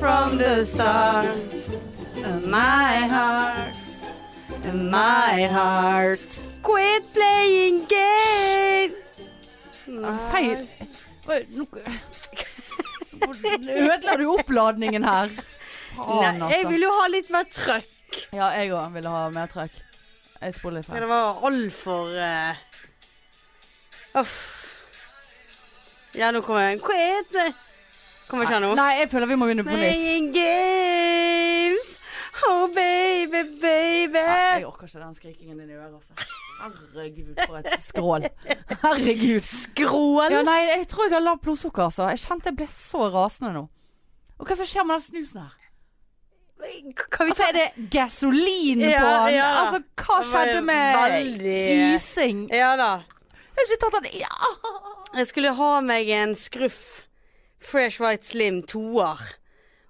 the start of my heart, of my heart. Quit playing game! Feil. Oi, nå ødela du oppladningen her. Faen, Nei, jeg altså. vil jo ha litt mer trøkk. Ja, jeg òg ville ha mer trøkk. Jeg spoler litt Men frem. det var altfor uh... Uff. Ja, nå kommer jeg. Quit! Kommer ikke her nå. eh. Nei, jeg føler vi må begynne på nytt. Playing games. Oh, baby, baby. Nei, Jeg orker ikke den skrikingen din i øret, altså. Herregud, for et skrål. Herregud. Skrål. Ja, nei, jeg tror jeg har lavt blodsukker, altså. Jeg kjente jeg ble så rasende nå. Og hva som skjer med den snusen her? Kan vi Altså, er det gasolin Ja, på den? ja. Altså, Det hva var skjedde med veldig- ising? ta Ja da. Jeg har ikke tatt den ja. Jeg skulle ha meg en skruff. Fresh White Slim toer.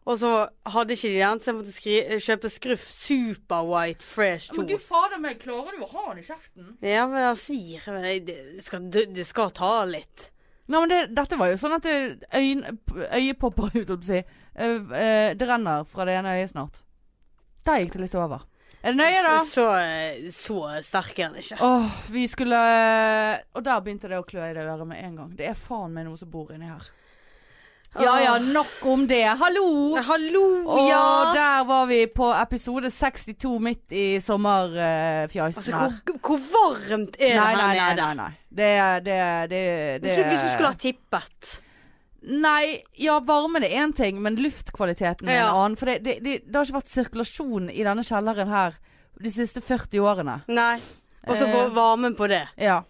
Og så hadde ikke de den, så jeg måtte skri kjøpe skruff Super White Fresh 2. fader meg, klarer du å ha den i kjeften? Ja, men han svir. Men jeg- det skal, det skal ta litt. Nei, men det, dette var jo sånn at det- øyn- p- øyet popper ut, holdt jeg på å si. Eh, eh, det renner fra det ene øyet snart. Der gikk det litt over. Er det nøye, da? Så, så, så sterk er han ikke. Åh, vi skulle eh, Og der begynte det å klø i det øret med en gang. Det er faen meg noe som bor inni her. Ja ja, nok om det. Hallo! Hallo, Og ja! der var vi på episode 62 midt i sommerfjæsen Altså, her. hvor, hvor varmt er det Nei, her nei, nei. nede? nei, nei. Det, det, det, det Hvis du ikke skulle ha tippet. Nei, ja, varmen er én ting, men luftkvaliteten er en Ja. annen. For det, det, det, det har ikke vært sirkulasjon i denne kjelleren her de siste 40 årene. Nei. Og så Eh. varmen på det. Ja.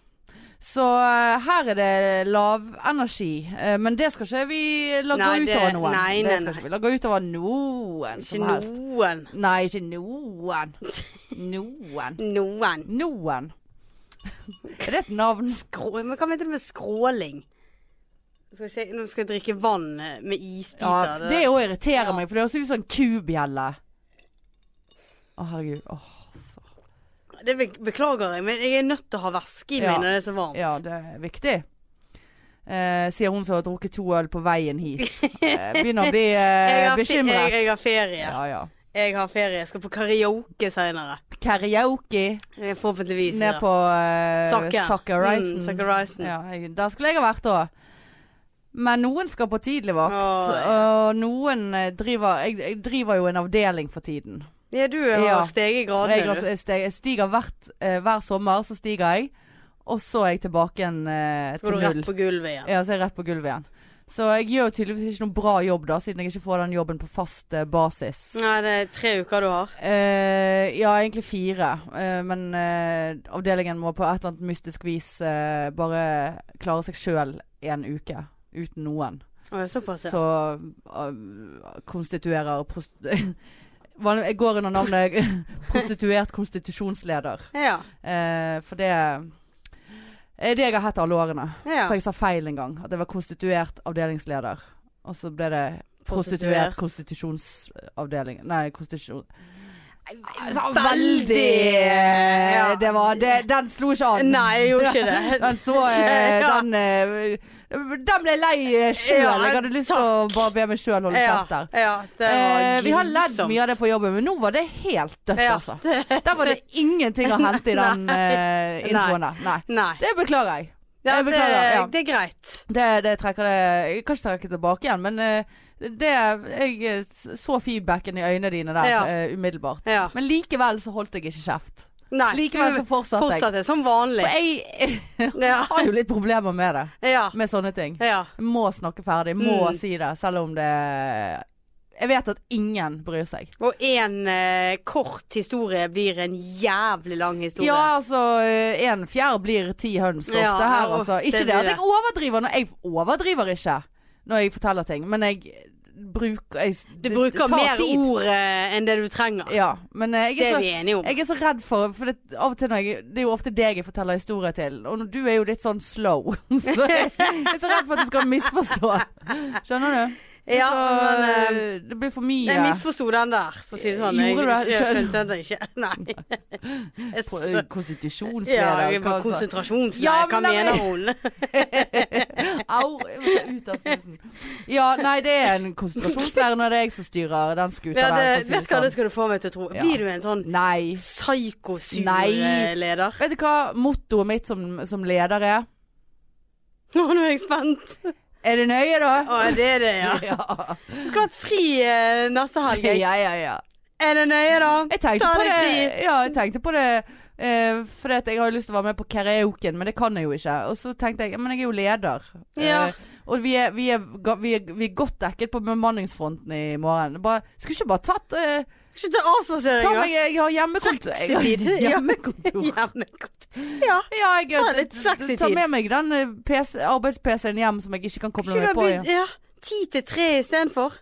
Så eh, her er det lav energi. Eh, men det skal ikke vi lage Nei, det- utover noen. nei, det nei, skal ikke vi lage utover noen Ikke som helst. noen. Nei, ikke noen. Noen. Noen. Noen. Er det et navn? Skrå... Men hva mente du med skråling? Skal ikke, jeg- nå skal jeg drikke vann eh, med Ja, isbiter. det òg irriterer Ja. meg, for det høres ut som en kubjelle. Å, herregud. Åh, så. det be- beklager jeg, men jeg er nødt til å ha væske i meg Ja. når det er så varmt. Ja, det er viktig. Eh, sier hun som har drukket to øl på veien hit. Eh, begynner å bli Jeg eh, har, fe- jeg, bekymret. jeg har ferie. Ja, ja. Jeg har ferie. Jeg skal på karaoke seinere. Karaoke Forhåpentligvis. ned ja. på eh, Sakke. Sakke Horizon. Mm, Sakke Horizon. Ja, jeg, der skulle jeg ha vært da. Men noen skal på tidligvakt, Åh, og noen eh, driver jeg, jeg driver jo en avdeling for tiden. Ja, du har Ja. steget Jeg, gradene, altså, du. jeg steg- jeg stiger hvert, eh, hver sommer, så stiger jeg. Og så er jeg tilbake igjen eh, Så går til du rett null. på gulvet igjen. Ja, så er jeg rett på gulvet igjen. Så jeg gjør jo tydeligvis ikke noen bra jobb, da, siden jeg ikke får den jobben på fast eh, basis. Nei, det er tre uker du har. Eh, ja, egentlig fire. Eh, men eh, avdelingen må på et eller annet mystisk vis eh, bare klare seg sjøl en uke. Uten noen. Å, ja, såpass, ja. Så eh, konstituerer prost... Vanlig- Jeg går under navnet prostituert konstitusjonsleder. Ja. Eh, for det er det jeg har hett alle årene. ja. For jeg sa feil en gang. At jeg var konstituert avdelingsleder. Og så ble det prostituert konstitusjonsavdeling Nei, konstitusjon... Altså, veldig Ja. Det var det, Den slo ikke an. Nei, jeg gjorde ikke det. Den så eh, Ja. Den eh, Den ble lei eh, sjøl. Ja, Jeg hadde lyst til å bare be meg sjøl holde Ja, kjeft der. ja, det var Eh, vi har ledd grusomt. mye av det på jobben, men nå var det helt dødt, Ja, altså. Der var det ingenting å hente i den eh, introen der. Nei. Nei. Det beklager jeg. Ja, Jeg det, beklager, ja. det er greit. Det, det trekker det Jeg kan ikke trekke tilbake igjen, men eh, det Jeg eh, så feedbacken i øynene dine der Ja. eh, umiddelbart. Ja. Men likevel så holdt jeg ikke kjeft. Nei. Likevel så fortsatte jeg. fortsatte jeg som vanlig. For jeg Ja. har jo litt problemer med det. Ja. Med sånne ting. ja. Jeg må snakke ferdig, må Mm. si det, selv om det Jeg vet at ingen bryr seg. Og en eh, kort historie blir en jævlig lang historie. Ja, altså eh, En fjær blir ti høns ofte Ja, her, ja, altså. det Ikke det, blir at det. jeg overdriver. Når jeg overdriver ikke når jeg forteller ting, men jeg bruker jeg, Du det- det bruker tar mer tid. ord eh, enn det du trenger. Ja, men eh, Det jeg er, er så, vi enige om. jeg er så redd for For det, av og til når jeg Det er jo ofte deg jeg forteller historier til, og du er jo litt sånn slow. Så jeg er så redd for at du skal misforstå. Skjønner du? Ja, så, men eh, det blir for mye. jeg misforsto den der, for å si det sånn. Jeg Gjorde du det? skjø- skjønte den ikke. Nei. Jeg På- sø- Ja, Konstitusjonsleder. jeg var hva altså? konsentrasjonsleir. Ja, Hva men da- mener hun? Au! Jeg må ut av snusen. Ja, nei, det er en konsentrasjonsleir når det er jeg som styrer den skuta Ja, det, vet der. for å si du hva, sånn. det skal du få meg til å tro. Ja. Blir du en sånn Nei. psykosur Nei. eh, leder? Vet du hva mottoet mitt som, som leder er? Nå er jeg spent. Er det nøye, da? Å, det er det, ja. Ja. Skal du ha et fri eh, neste helg? jeg? ja, ja, ja. Er det nøye, da? Jeg tenkte Ta på deg det, fri. ja, jeg tenkte på det eh, fordi at jeg har jo lyst til å være med på karaoken, men det kan jeg jo ikke. Og så tenkte jeg, ja, men jeg er jo leder. Ja. Eh, og vi er, vi, er, ga- vi, er, vi er godt dekket på bemanningsfronten i morgen. Bare, skulle ikke bare tatt eh, Ikke ta Ta avspasering, da? meg, jeg har hjemmekontor. Jeg har Fleksetid. Ja. hjemmekontor. Ja, men godt. Ja. Ja, jeg, Ta litt fleksetid. Ta med meg den eh, PC arbeids-PC-en hjem som jeg ikke kan koble Kunne du meg ha på. begynt ja, ti til tre istedenfor?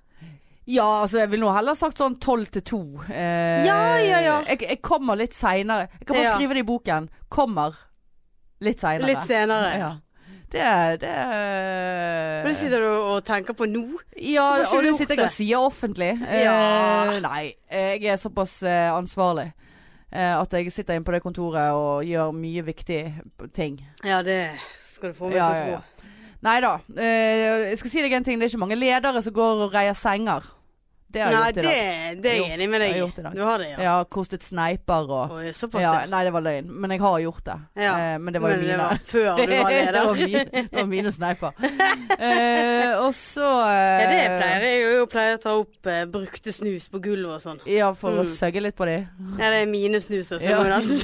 Ja, altså jeg vil nå heller sagt sånn tolv til to. Eh, Ja, ja, ja. Jeg, jeg kommer litt seinere. Jeg kan bare Ja. skrive det i boken. Kommer litt seinere. Litt senere. Ja. Det, det Og det sitter du og tenker på nå? Ja, Hvorfor har ikke og du det gjort sitter jeg og det? sier offentlig. Ja. Eh, nei, jeg er såpass eh, ansvarlig eh, at jeg sitter inne på det kontoret og gjør mye viktige ting. Ja, det skal du få meg Ja, til å ja, tro. ja. Nei da. Eh, jeg skal si deg en ting. Det er ikke mange ledere som går og reier senger. Det har jeg Nei, gjort i det, dag. det er Jeg jeg har enig med jeg deg har i. gjort i dag. Du har det, Jeg ja. har kostet sneiper og Oi, såpass, ja, ja. Nei, det var løgn. Men jeg har gjort det. Ja. Eh, men det var jo Men det mine. var før du var det, leder. var mine, det var mine sneiper. Eh, og så eh, Ja, det pleier jeg jo. Jeg pleier å ta opp eh, brukte snus på gulvet og sånn. Ja, for å Mm. søgge litt på de. Ja, det er mine snuser, så Ja. jeg må nesten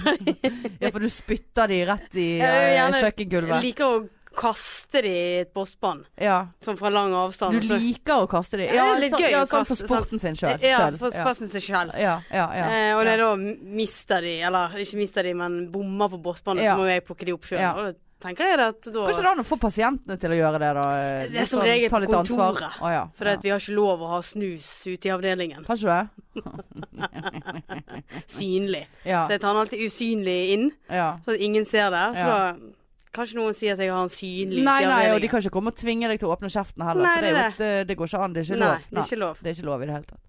si. Ja, for du spytter de rett i Ja, eh, jeg vil gjerne- Jeg kjøkkengulvet. liker å kaste de i et bossbånd, Ja. sånn fra lang avstand. Du liker å kaste de. Ja, det er Ja, litt sånn, gøy ja, å sånn for kaste, sporten sin sjøl. Ja, for kasten seg selv. ja, ja, ja. eh, og når ja. jeg da mister de, eller ikke mister de, men bommer på bossbåndet, Ja. så må jo jeg plukke de opp sjøl. Ja. Og da tenker jeg det at da Kanskje det an å få pasientene til å gjøre det, da? eh, Det er som sånn, regel ta på litt ansvar. kontoret. Å, ja. For at vi har ikke lov å ha snus ute i avdelingen. Har ikke du det? Synlig. Ja. Så jeg tar den alltid usynlig inn, ja. så at ingen ser det. Så Ja. da kan ikke noen si at jeg har en synlig Nei, ute i nei, og de avdelingen. kan ikke komme og tvinge deg til å åpne kjeften heller. Nei, for det, det er er jo et, eh, det går ikke an. Det er ikke Nei, lov. det er ikke lov. Det er ikke lov i det hele tatt.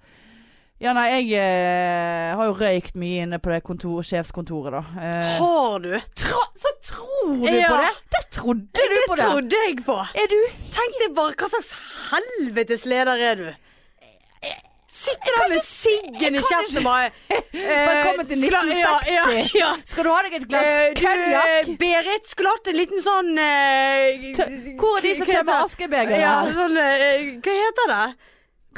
Ja, nei, jeg eh, har jo røykt mye inne på det kontor, sjefskontoret, da. Eh, Har du? tro- så tror du på Ja. det?! Det trodde du på Det det! trodde jeg på! Er du Tenk deg bare, hva slags helvetes leder er du? Sitter der med siggen i kjeften og bare Velkommen til skulle- ja, ja, 1960. ja. Skal du ha deg et glass Eh, du, konjakk? eh, Berit skulle hatt en liten sånn eh, Tø- Hvor er de hva som heter tømmer det? askebegeret? Ja, sånn, eh, hva heter det?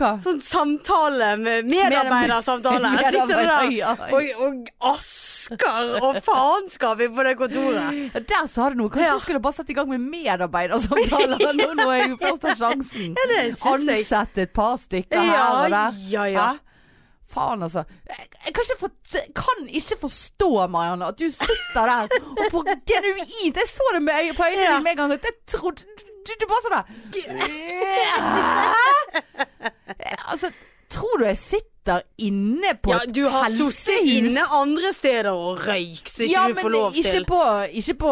Hva? Sånn samtale med medarbeidersamtale. Jeg sitter du Medarbeider- der ja, ja. og, og asker og faenskap på det kontoret. Ja, Der sa du noe. Kanskje Ja. jeg skulle bare sette i gang med medarbeidersamtaler nå når jeg først har sjansen. Ja, det synes jeg. Ansett et par stykker her Ja, og der. ja, ja. Hæ? Faen, altså. Jeg, jeg kan, ikke for, kan ikke forstå, Marianne, at du sitter der og på genuint Jeg så det med øye, på øynene Ja. dine med en gang. at Jeg trodde Du, du bare sånn der Altså, tror du jeg sitter inne på Ja, et du har sittet helsehus? inne andre steder og røykt, så ikke ja, du men får lov ikke til. På, ikke, på,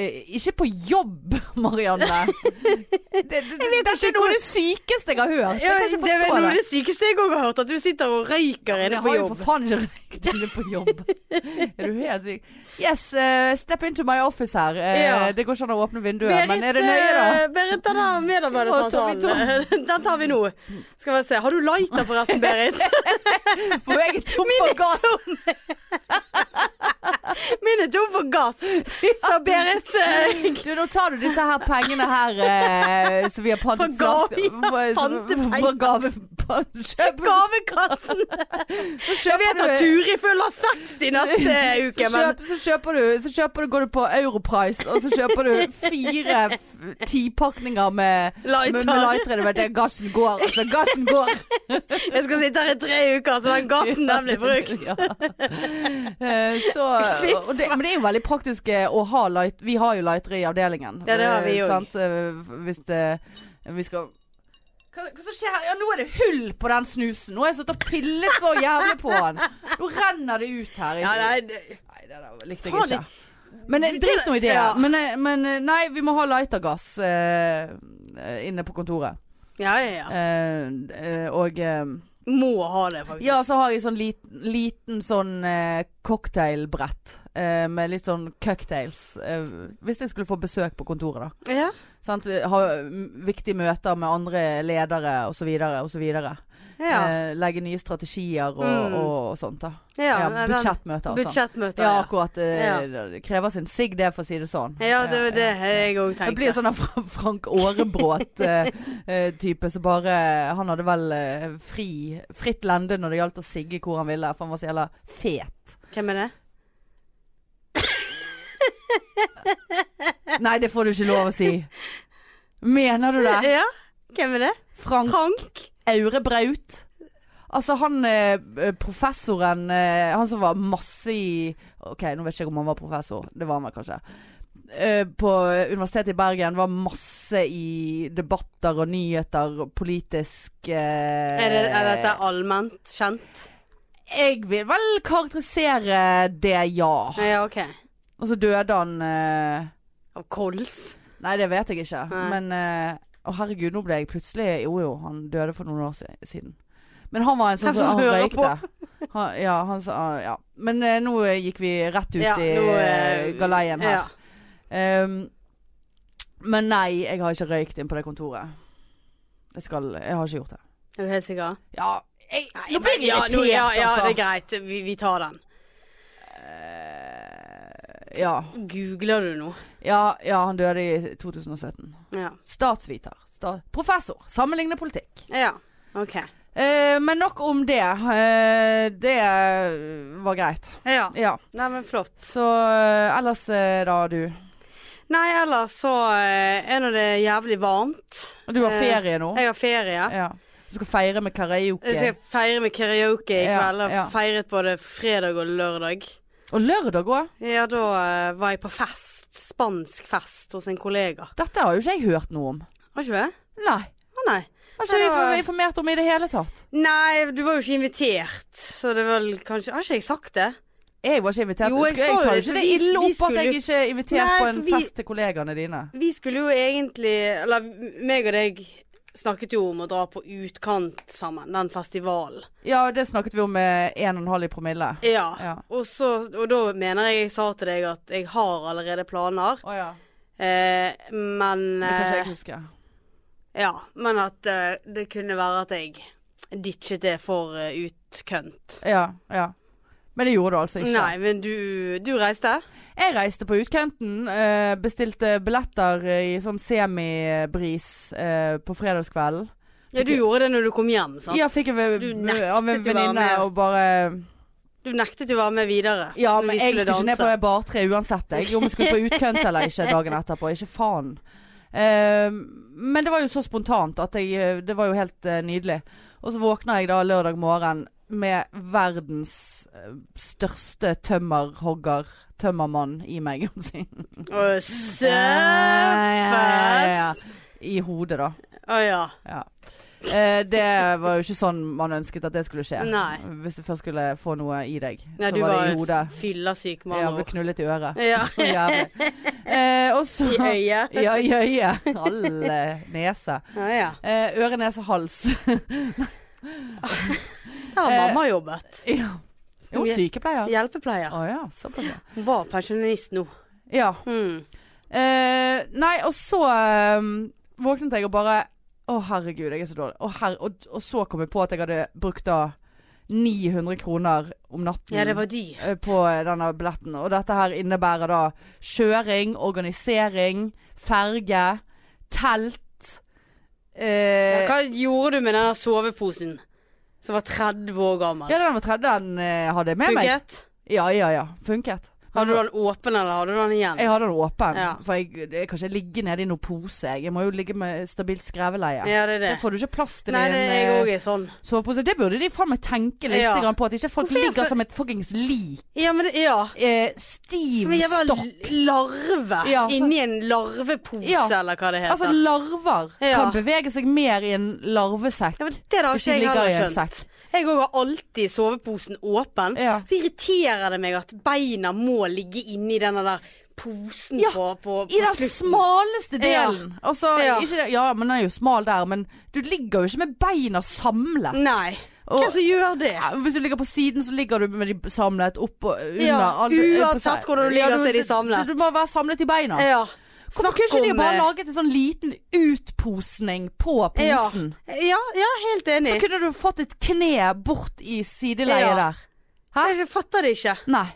eh, ikke på jobb, Marianne. det, det, det, det ikke er ikke noe av det sykeste jeg har hørt. Ja, Jeg kan men ikke det er vel forstå noe av det. det sykeste jeg òg har hørt, at du sitter og røyker Men inne Jeg på har jo jobb. for faen ikke røykt inne på jobb. Er du helt syk? Yes, eh, step into my office her. Eh, Ja. Det går ikke an å åpne vinduet, men er det nøye, da? eh, Berit, den her Å, Tommy, medarbeidersamtalen, den tar vi nå. Skal vi se. Har du lighter forresten, Berit? For jeg er tom for gass. Min er tom for gass. Så Berit eh, Du, nå tar du disse her pengene her eh, som vi har Fra pantet gave- flasker- pantepenger. Fra gave... Kjøp, Gavekassen. så Jeg kjøper vet at du Turi fyller 60 neste uke, så, men kjøp, så kjøper du, så kjøper du, går du på Europrice, og så kjøper du fire f- tipakninger med Lighter. Med, med lighter, du vet det, gassen går. Altså, gassen går. jeg skal sitte her i tre uker, så den gassen den blir brukt. Ja. Eh, Så, og det, men det er jo veldig praktisk eh, å ha light. Vi har jo lightere i avdelingen. Ja, det har vi Eh, jo. sant? Eh, Hvis det Vi skal hva, hva som skjer her? Ja, nå er det hull på den snusen. Nå har jeg sittet og pillet så jævlig på den. Nå renner det ut her. Ja, nei, det- Nei, det der likte jeg Faen, ikke. Men eh, det- drit nå i det. ja. Men, eh, men eh, nei, vi må ha lightergass eh, eh, inne på kontoret. Ja, ja, ja. Eh, eh, og eh, Må ha det, faktisk. Ja, så har jeg sånn liten, liten sånn eh, cocktailbrett eh, med litt sånn cocktails. Eh, hvis jeg skulle få besøk på kontoret, da. Ja. Sant? Ha mm, viktige møter med andre ledere osv. osv. ja. Eh, legge nye strategier og, Mm. og, og sånt. da ja, ja, nei, den- Budsjettmøter og sånn. Budsjettmøter. Ja, Ja, akkurat. eh, Det krever sin sigg, det, for å si det sånn. ja. det var det jeg òg Det blir tenkte. sånn en Fra- Frank Aarebrot-type som bare Han hadde vel eh, fri, fritt lende når det gjaldt å sigge hvor han ville, for han var så jævla fet. Hvem er det? Nei, det får du ikke lov å si. Mener du det? Ja, hvem er det? Frank Frank? Aurebraut? Altså han eh, professoren eh, Han som var masse i Ok, nå vet ikke jeg om han var professor. Det var han vel kanskje. Eh, På Universitetet i Bergen var masse i debatter og nyheter, politisk eh, Er, det, er dette allment kjent? Jeg vil vel karakterisere det, ja. Ja, OK. Og så døde han eh, Av kols? Nei, det vet jeg ikke. Nei. Men eh, Å, herregud, nå ble jeg plutselig Jo, jo, han døde for noen år si- siden. Men han var en sånn Hvem som som han hører røykte. Han, ja, han sa Ja. Men eh, nå eh, gikk vi rett ut Ja, i nå, eh, eh, galeien her. Ja. Ehm, men nei, jeg har ikke røykt inn på det kontoret. Jeg skal Jeg har ikke gjort det. Er du helt sikker? Ja, jeg, nå men- blir jeg ja, irritert, nå- ja, ja, altså. det er greit. Vi, vi tar den. ja. Googler du nå? Ja, ja, han døde i 2017. Ja. Statsviter. Sta professor. Sammenligne politikk. ja. OK. Eh, men nok om det. Eh, det eh, var greit. Ja. Ja. Nei, men flott. Så eh, ellers eh, da, du. Nei, ellers så eh, er nå det jævlig varmt. Og Du har Eh, ferie nå? Jeg har ferie. Ja. Du skal feire med karaoke. Jeg skal feire med karaoke i Ja, kveld. Jeg har ja. feiret både fredag og lørdag. Og lørdag òg. Ja, da eh, var jeg på fest. Spansk fest hos en kollega. Dette har jo ikke jeg hørt noe om. Var ikke det? Nei. Å nei. Har Nei, ikke det vi var- fått informert om i det hele tatt. Nei, du var jo ikke invitert, så det var vel kanskje Har ikke jeg sagt det? Jeg var ikke invitert. Jo, jeg Skulle- så tar det, ikke for det vi- ille vi opp at jeg skulle- ikke er invitert Nei, på for en vi- fest til kollegaene dine. Vi skulle jo egentlig Eller meg og deg snakket jo om å dra på utkant sammen, den festivalen. Ja, det snakket vi om med 1,5 i promille. Ja. Ja. Og, så, og da mener jeg jeg sa til deg at jeg har allerede planer, Å ja. eh, men Det kan ikke jeg eh, huske. Ja. Men at eh, det kunne være at jeg ditchet det for eh, utkant. Ja, ja. Men det gjorde du altså ikke. Nei, men du, du reiste? Jeg reiste på utkanten, eh, bestilte billetter eh, i sånn semibris eh, på fredagskvelden. Ja, du gjorde det når du kom hjem, sant? Ja, fikk jeg ved- Du nektet av en å være venninne med. og bare Du nektet jo å være med videre. Ja, når men vi jeg skulle ikke ned på danse. det bartreet uansett, jeg. Om jeg skulle på utkant eller ikke dagen etterpå. Ikke faen. Eh, men det var jo så spontant at jeg eh, Det var jo helt eh, nydelig. Og så våkna jeg da lørdag morgen med verdens eh, største tømmerhogger, tømmermann, i meg. om å si. Og Ja, ja, søppels! I hodet, da. Å ja. Ja. Eh, det var jo ikke sånn man ønsket at det skulle skje. Nei. Hvis du først skulle få noe i deg, Nei, så du var det i var hodet. Fyllesyk mann. Ja, ble knullet i øret. Ja. Så jævlig. Eh, og så I øyet. Ja, i øyet. Alle nese. Ja, ja. Eh, øre, nese, hals. Der har Eh, mamma jobbet. ja. Jo, sykepleier. Hjelpepleier. Å ja, såpass, ja. Hun var pensjonist nå. ja. Mm. Eh, nei, og så ehm, våknet jeg og bare Å, herregud, jeg er så dårlig. Å, herre- og, og så kom jeg på at jeg hadde brukt da 900 kroner om natten Ja, det var dyrt. eh, på denne billetten. Og dette her innebærer da kjøring, organisering, ferge, telt Ja, eh, Hva gjorde du med denne soveposen som var 30 år gammel? Ja, den var tredje, den eh, hadde jeg med meg. Funket? Ja, ja, ja. Funket. Hadde du den åpen, eller hadde du den igjen? Jeg hadde den åpen. Ja. For jeg, jeg kan ikke ligge nede i noen pose. Jeg Jeg må jo ligge med stabilt skreveleie. Ja, det er det. Det får du ikke plass til Nei, i det, en jeg eh, òg er sånn. sovepose. Det burde de faen meg tenke litt Ja. grann på. At ikke folk Hvorfor jeg ligger skal- som et fuckings lik. Ja, men det, ja. Eh, stiv Som en jævla stopp. larve Ja, så- inni en larvepose, Ja. eller hva det heter. Altså larver Ja. kan bevege seg mer i en larvesekk. ja, men det har Hvis ikke de jeg ligger i heller en skjønt. sekk. Jeg òg har alltid soveposen åpen. Ja. Så irriterer det meg at beina må ligge inni denne der posen Ja, på, på, på I den slutten. smaleste delen. Ja. Altså, Ja. ja. Ikke det, ja, men den er jo smal der, men du ligger jo ikke med beina samlet. Nei. Og- Hvem som gjør det? Ja, Hvis du ligger på siden, så ligger du med de samlet opp og under. Ja, aldri- uansett hvordan du ligger, så er de samlet. Du, du må være samlet i beina. Ja. Hvorfor kunne ikke de bare eh, laget en sånn liten utposning på ja. posen? ja, ja, helt enig. eh, Så kunne du fått et kne bort i sideleiet Ja. der. Hæ? Jeg fatter det ikke. Nei.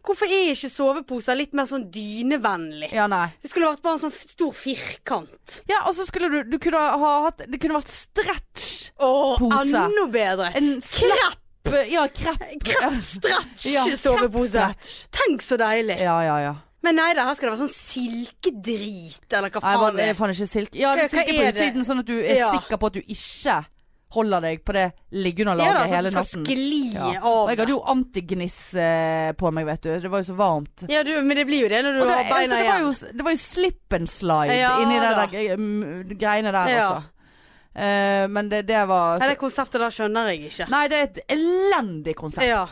Hvorfor er ikke soveposer litt mer sånn dynevennlig? Ja, nei. Det skulle vært bare en sånn f- stor firkant. Ja, og så skulle du, du kunne ha hatt Det kunne vært stretch. Åh, Pose. enda bedre. En Krepp, slepp Ja, krepp. krepp, stretch Ja, sovepose. kreppstretch. Tenk så deilig. Ja, ja, ja. Men nei da, her skal det være sånn silkedrit, eller hva Nei, faen var- det det er er. faen ikke silke. Ja, Hva- det er hva silke på er det? utsiden, sånn at du er Ja. sikker på at du ikke holder deg på det Ja liggeunderlaget da, sånn at hele du skal natten. skli Ja. Og av. jeg hadde jo antigniss eh, på meg, vet du. Det var jo så varmt. Ja, du, men det blir jo det når du Og det, har altså, beina det, var igjen. jo, det var jo slip and slide Ja inni det da. der gre- mm, greiene der, Ja. altså. Eh, men det, det var Nei, det konseptet der skjønner jeg ikke. Nei, det er et elendig konsept. Ja.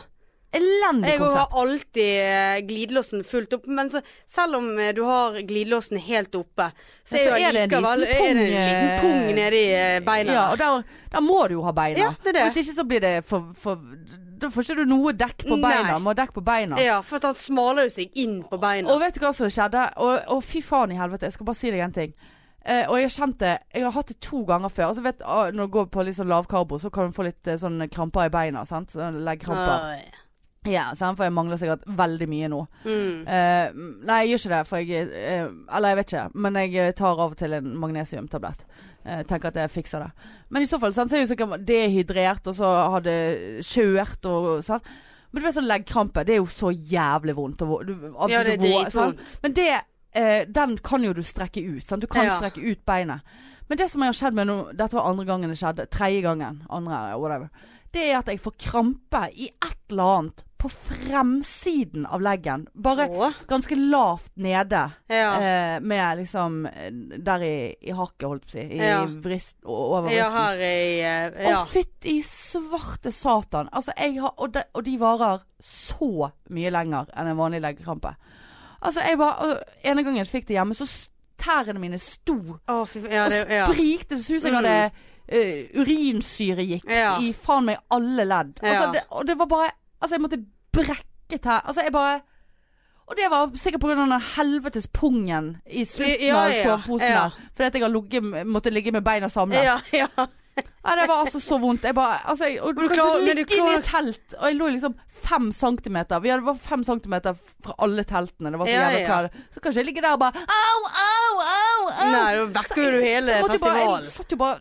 Elendig Jeg konsept. har alltid eh, glidelåsen fullt opp, men så, selv om eh, du har glidelåsen helt oppe, så Ja, er, så jo er det en allikevel- liten er det en liten pung, pung eh, nedi eh, beina. Ja, der. og der, der må du jo ha beina. Ja, det er det. Hvis ikke så blir det for, for Da får ikke du noe dekk på Nei. beina. Må ha dekk på beina. Ja, for at han smaler jo seg inn på beina. Og vet du hva som skjedde? Og, og fy faen i helvete, jeg skal bare si deg en ting. Eh, og jeg har kjent det Jeg har hatt det to ganger før. Altså vet, ah, Når du går på litt sånn lavkarbo, så kan du få litt eh, sånn kramper i beina. Sant? Sånn Leggkramper. Oi. Ja, sant? For jeg mangler sikkert veldig mye nå. Mm. Eh, nei, jeg gjør ikke det, for jeg eh, Eller jeg vet ikke, men jeg eh, tar av og til en magnesiumtablett. Eh, tenker at jeg fikser det. Men i så fall sant, så er jeg jo sikkert dehydrert, og så har det kjørt og sånn. Men du vet sånn leggkrampe, det er jo så jævlig vondt. Og, vo- du, av- Ja, det er så vo- sant? dritvondt. Men det, eh, den kan jo du strekke ut. Sant? Du kan Ja. strekke ut beinet. Men det som har skjedd med nå, dette var andre gangen det skjedde, tredje gangen, andre, whatever, det er at jeg får krampe i et eller annet på fremsiden av leggen. Bare Å, ganske lavt nede. Ja. Eh, med liksom eh, der i, i hakket, holdt jeg på å si. I Ja. vrist, o- over vristen. ja, her i eh, Å, Ja. fytti svarte satan. Altså, jeg har, og, de, og de varer så mye lenger enn en vanlig leggekrampe. Altså, jeg var og Ene gangen jeg fikk det hjemme, så s- tærne mine sto og Å, fy faen. Ja, det ja. sprikte. Det så ut som jeg Mm. hadde eh, urinsyregikt Ja. i faen meg alle ledd. Altså, Ja. det, og det var bare Altså, jeg måtte brekke tær. Altså, jeg bare og det var sikkert pga. den helvetes pungen i slutten Ja, av ja, soveposen. ja. der. Fordi at jeg har ligget, måtte ligge med beina samlet. Ja, ja. Ja, det var altså så vondt. Jeg bare, altså, jeg, og du kan klarer- ikke men du ligge klarer- inne i et telt. Og jeg lå liksom fem centimeter. Vi hadde var fem centimeter fra alle teltene. Det var så Ja, jævlig ja. klart. Så kanskje jeg ligger der og bare Au, au, au! au. Nei, da vekker jo du Så hele jeg måtte jo bare, jeg festivalen. satt jo bare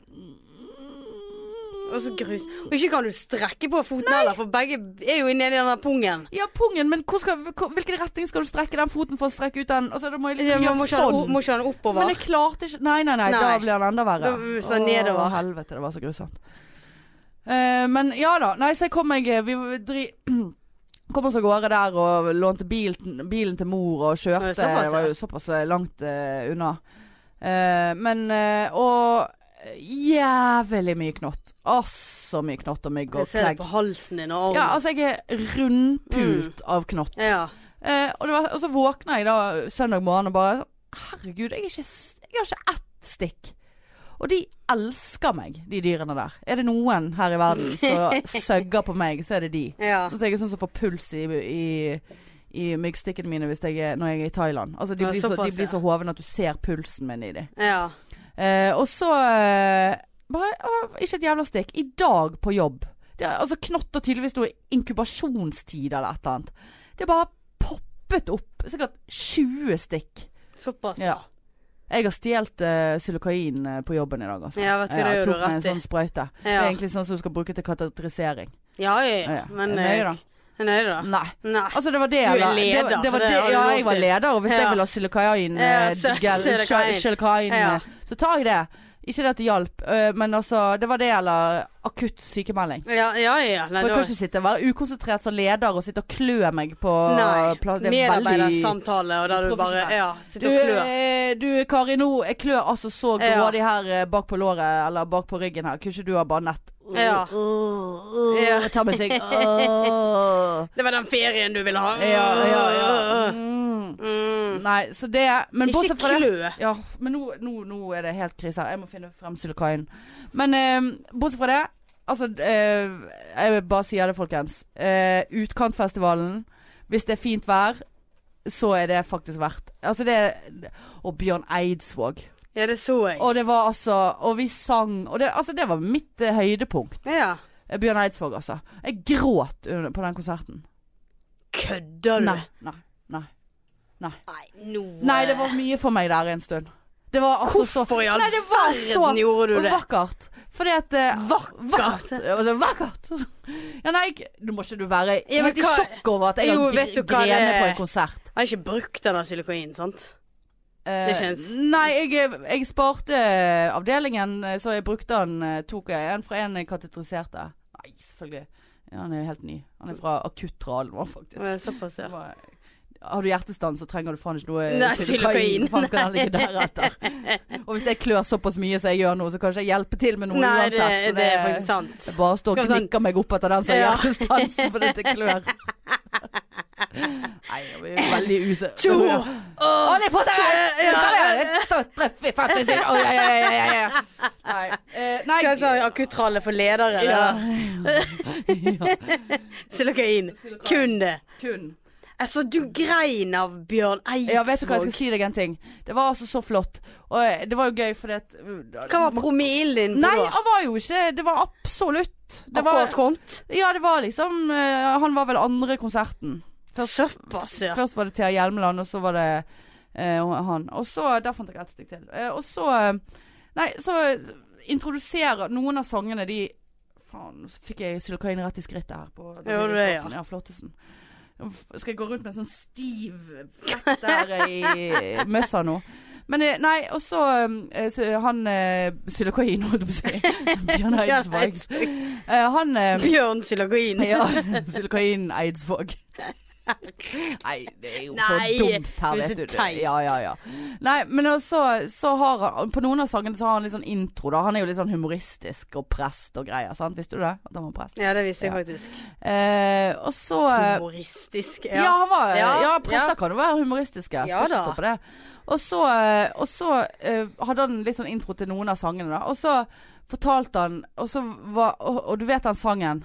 Og så grus. Og ikke kan du strekke på foten heller, for begge er jo nedi den der pungen. Ja, pungen, men hvor skal, hvor, hvilken retning skal du strekke den foten for å strekke ut den? Altså, da må jeg Ja, liksom men gjøre må ikke ha den o- sånn. må ikke ha den Men oppover. jeg klarte ikke Nei, nei, nei, da Nei. blir han enda verre. Da- så nedover. Å, helvete, det var så grusomt. Eh, men ja da. Nei, så kom jeg eh, Vi dri... Kom oss av gårde der og lånte bil, bilen til mor og kjørte. Det var såpass, det var jo såpass langt eh, unna. Eh, men eh, Og jævlig mye knott. Altså mye knott og mygg Jeg og ser det klegg. på halsen din og Ja, armen. altså jeg er rundpult av knott. Ja. Mm. Eh, og, det var, og så våkna jeg da søndag morgen og bare Herregud, jeg, er ikke, s- jeg har ikke ett stikk. Og de elsker meg, de dyrene der. Er det noen her i verden som søgger på meg, så er det de. ja. Så jeg er sånn som får puls i, i, i myggstikkene mine hvis jeg er, når jeg er i Thailand. Altså, de Ja, blir så, de såpass, blir ja. så hovne at du ser pulsen min i dem. ja. Eh, og så eh, bare, å, Ikke et jævla stikk. I dag på jobb. Det er, altså Knott og tydeligvis noe inkubasjonstid eller et eller annet. Det bare poppet opp sikkert 20 stikk. Såpass. Ja. Jeg har stjålet psylokain eh, på jobben i dag, altså. Ja, vet du hva, det gjør du tok meg en rett i. sånn sprøyte. Det er Ja. egentlig sånn som du skal bruke til katetrisering. Ja, ja, Ja, ja. ja. Men Er nøye, eh, er nøye, da. Nei. Nei. Altså, det var det Du er jeg var- leder, det, var- det var så det det, har du ja, lov jeg var til. leder, og hvis Ja. jeg vil ha eh, silikain, Ja, så- silikain. Ja. eh. så tar jeg det. Ikke det at det hjalp, øh, men altså Det var det eller akutt sykemelding. Ja, ja, ja. Nei, For jeg da- kan ikke sitte være ukonsentrert som leder og sitte og klø meg på plass. Nei. Det er veldig Medarbeidersamtale, og der du bare profesjonell. ja, du, sitter og klør. eh, du Kari, nå jeg klør altså så Ja. grådig her eh, bak på låret eller bak på ryggen her. Kunne ikke du ha bare nett Ja. Åh, åh, Ja. åh, Ta med seg Åh. Det var den ferien du ville ha. Ja, ja, ja. Mm. Mm. Nei, så det Men Ikke bortsett fra det klø. Ja, men nå, nå, nå er det helt krise her. Jeg må finne frem silikaien. Men eh, bortsett fra det Altså, eh, jeg vil bare sier det, folkens. Eh, utkantfestivalen. Hvis det er fint vær, så er det faktisk verdt Altså, det er Og Bjørn Eidsvåg. Ja, det så jeg. Og det var altså Og vi sang. Og det, altså, det var mitt eh, høydepunkt. Ja. Eh, Bjørn Eidsvåg, altså. Jeg gråt under, på den konserten. Kødder du? Nei. Nei. Nei. Nei, nå Nei, det var mye for meg der en stund. Det var altså så Hvorfor i all Nei, det var så verden gjorde du det? Vakkert. Fordi at eh, Vakkert? Altså, vakkert. Ja, nei, jeg- nå må ikke du være Ja, men helt i hva- sjokk over at jeg Jo, har vet du gr- hva grene det- på en konsert. Jeg har ikke brukt den der silikoinen, sant? Eh, det kjennes. Nei, jeg, jeg sparte eh, avdelingen, eh, så jeg brukte den. eh, Tok jeg en fra en jeg katetriserte. Nei, selvfølgelig. Ja, han er helt ny. Han er fra akuttralen vår, faktisk. Men Såpass, ja. Det var- Har du hjertestans, så trenger du faen ikke noe Nei, silikoin. silikoin. Faen skal den ligge der etter. Og hvis jeg klør såpass mye som jeg gjør nå, så kan ikke jeg hjelpe til med noe Nei, uansett. det, så det er faktisk sant. jeg bare står og Skal vi sånn- knikker meg opp etter den som har Ja. hjertestans for dette klør. Nei, jeg blir veldig use... To! Å, Åh, nei, få deg Ja, ja. Treffer faktisk ikke. Å, ja, ja, ja, ja, ja. Nei. eh, nei. Skal jeg si akuttralle for ledere? Ja. eller? ja. Silikoin. Silikoin. Kun det. Kun. Altså, du grein av Bjørn Eidsvåg. Ja, vet du hva, jeg skal si deg en ting. Det var altså så flott. Og eh, det var jo gøy fordi at Hva var promillen din på Nei, da? han var jo ikke Det var absolutt det Akkurat var, kommet? Ja, det var liksom eh, Han var vel andre konserten. Først- Såpass, ja. Først var det Thea Hjelmeland, og så var det eh, han. Og så Der fant jeg ett stykk til. Eh, og så eh, Nei, så introduserer noen av sangene de Faen, så fikk jeg silikoin rett i skrittet her. På Gjorde det, ja. Charlsen. ja, flottesen. F- Skal jeg gå rundt med en sånn stiv flekk der i møssa nå? Men eh, nei, og så eh, så han eh, Silikoin, holdt jeg på å si. Bjørn Bjørn Eidsvåg. Eidsvåg. Eh, han eh, Bjørn Silikoin. ja, Silikoin Eidsvåg. Nei, det er jo Nei, for dumt her, det er vet så du. Det- teit. Ja, ja, ja. Nei, men også, så har han På noen av sangene så har han litt sånn intro, da. Han er jo litt sånn humoristisk og prest og greier, sant? Visste du det? At han var prest? Ja, det visste jeg Ja. faktisk. Eh, og så eh, Humoristisk. ja. han var Ja, Ja, ja. prester kan jo være humoristiske. Skal Ja ikke da. stå på det. Og så, eh, og så eh, hadde han litt sånn intro til noen av sangene, da. Og så fortalte han Og så var Og, og du vet den sangen?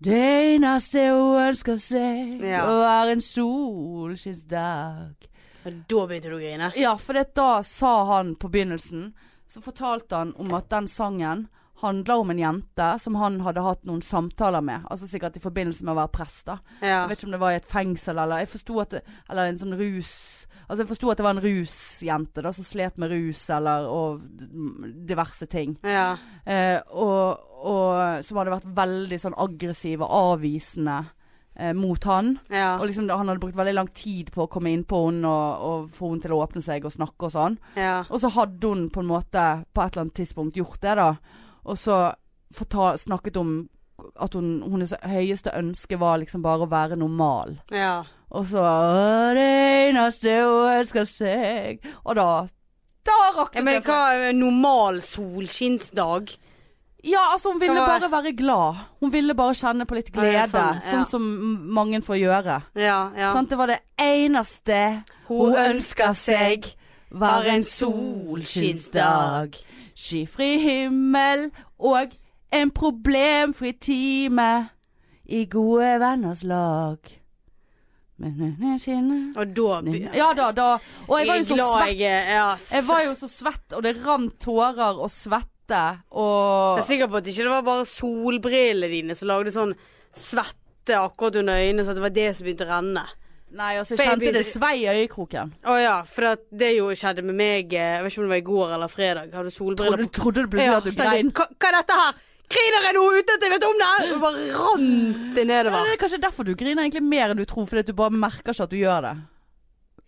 Det eneste hun ønsker seg, Ja. og er en solskinnsdag. Og da begynte du å grine. Ja, for det, da sa han på begynnelsen Så fortalte han om at den sangen handla om en jente som han hadde hatt noen samtaler med. Altså sikkert i forbindelse med å være prest, da. Ja. Jeg vet ikke om det var i et fengsel eller Jeg forsto at det, Eller en sånn rus Altså jeg forsto at det var en rusjente da Som slet med rus eller Og diverse ting ja. eh, og, og som hadde vært veldig sånn aggressiv og avvisende eh, Mot han ja. Og liksom han hadde brukt veldig lang tid på å komme inn på henne og, og få henne til å åpne seg og snakke og sånn ja. Og så hadde hun på en måte På et eller annet tidspunkt gjort det da Og så forta, snakket om at hun, hennes høyeste ønske var liksom bare å være normal ja. og så «Å, Det eneste hun elsker seg Og da Da Ja, raknet men det for- hva er en normal solskinnsdag? Ja, altså hun ville Hva var- bare være glad. Hun ville bare kjenne på litt Ja, ja, glede. sånn, ja. Sånn som m- mange får gjøre. Ja, ja. Sant? Det var det eneste hun ønsker seg. Var en solskinnsdag. Skyfri himmel og en problemfri time. I gode venners lag. Men hun er skinne Og da be- Ja da, da. Og jeg var jo så glad svett. jeg er. Ja, s- Jeg var jo så svett, og det rant tårer og svette og Jeg er sikker på at ikke det var bare solbrillene dine som lagde sånn svette akkurat under øynene, så at det var det som begynte å renne. Nei, altså, For jeg jeg kjente begynte- det svei i øyekroken. Å ja, for at det jo skjedde med meg eh, Jeg vet ikke om det var i går eller fredag. Hadde solbriller Trodde, på. trodde du plutselig Ja, at du så tenkte jeg, grein? Hva, hva er dette her? Griner jeg nå uten at jeg vet om det? Og bare rant det Ja, nedover. det er kanskje derfor du griner egentlig mer enn du tror, fordi at du bare merker ikke at du gjør det.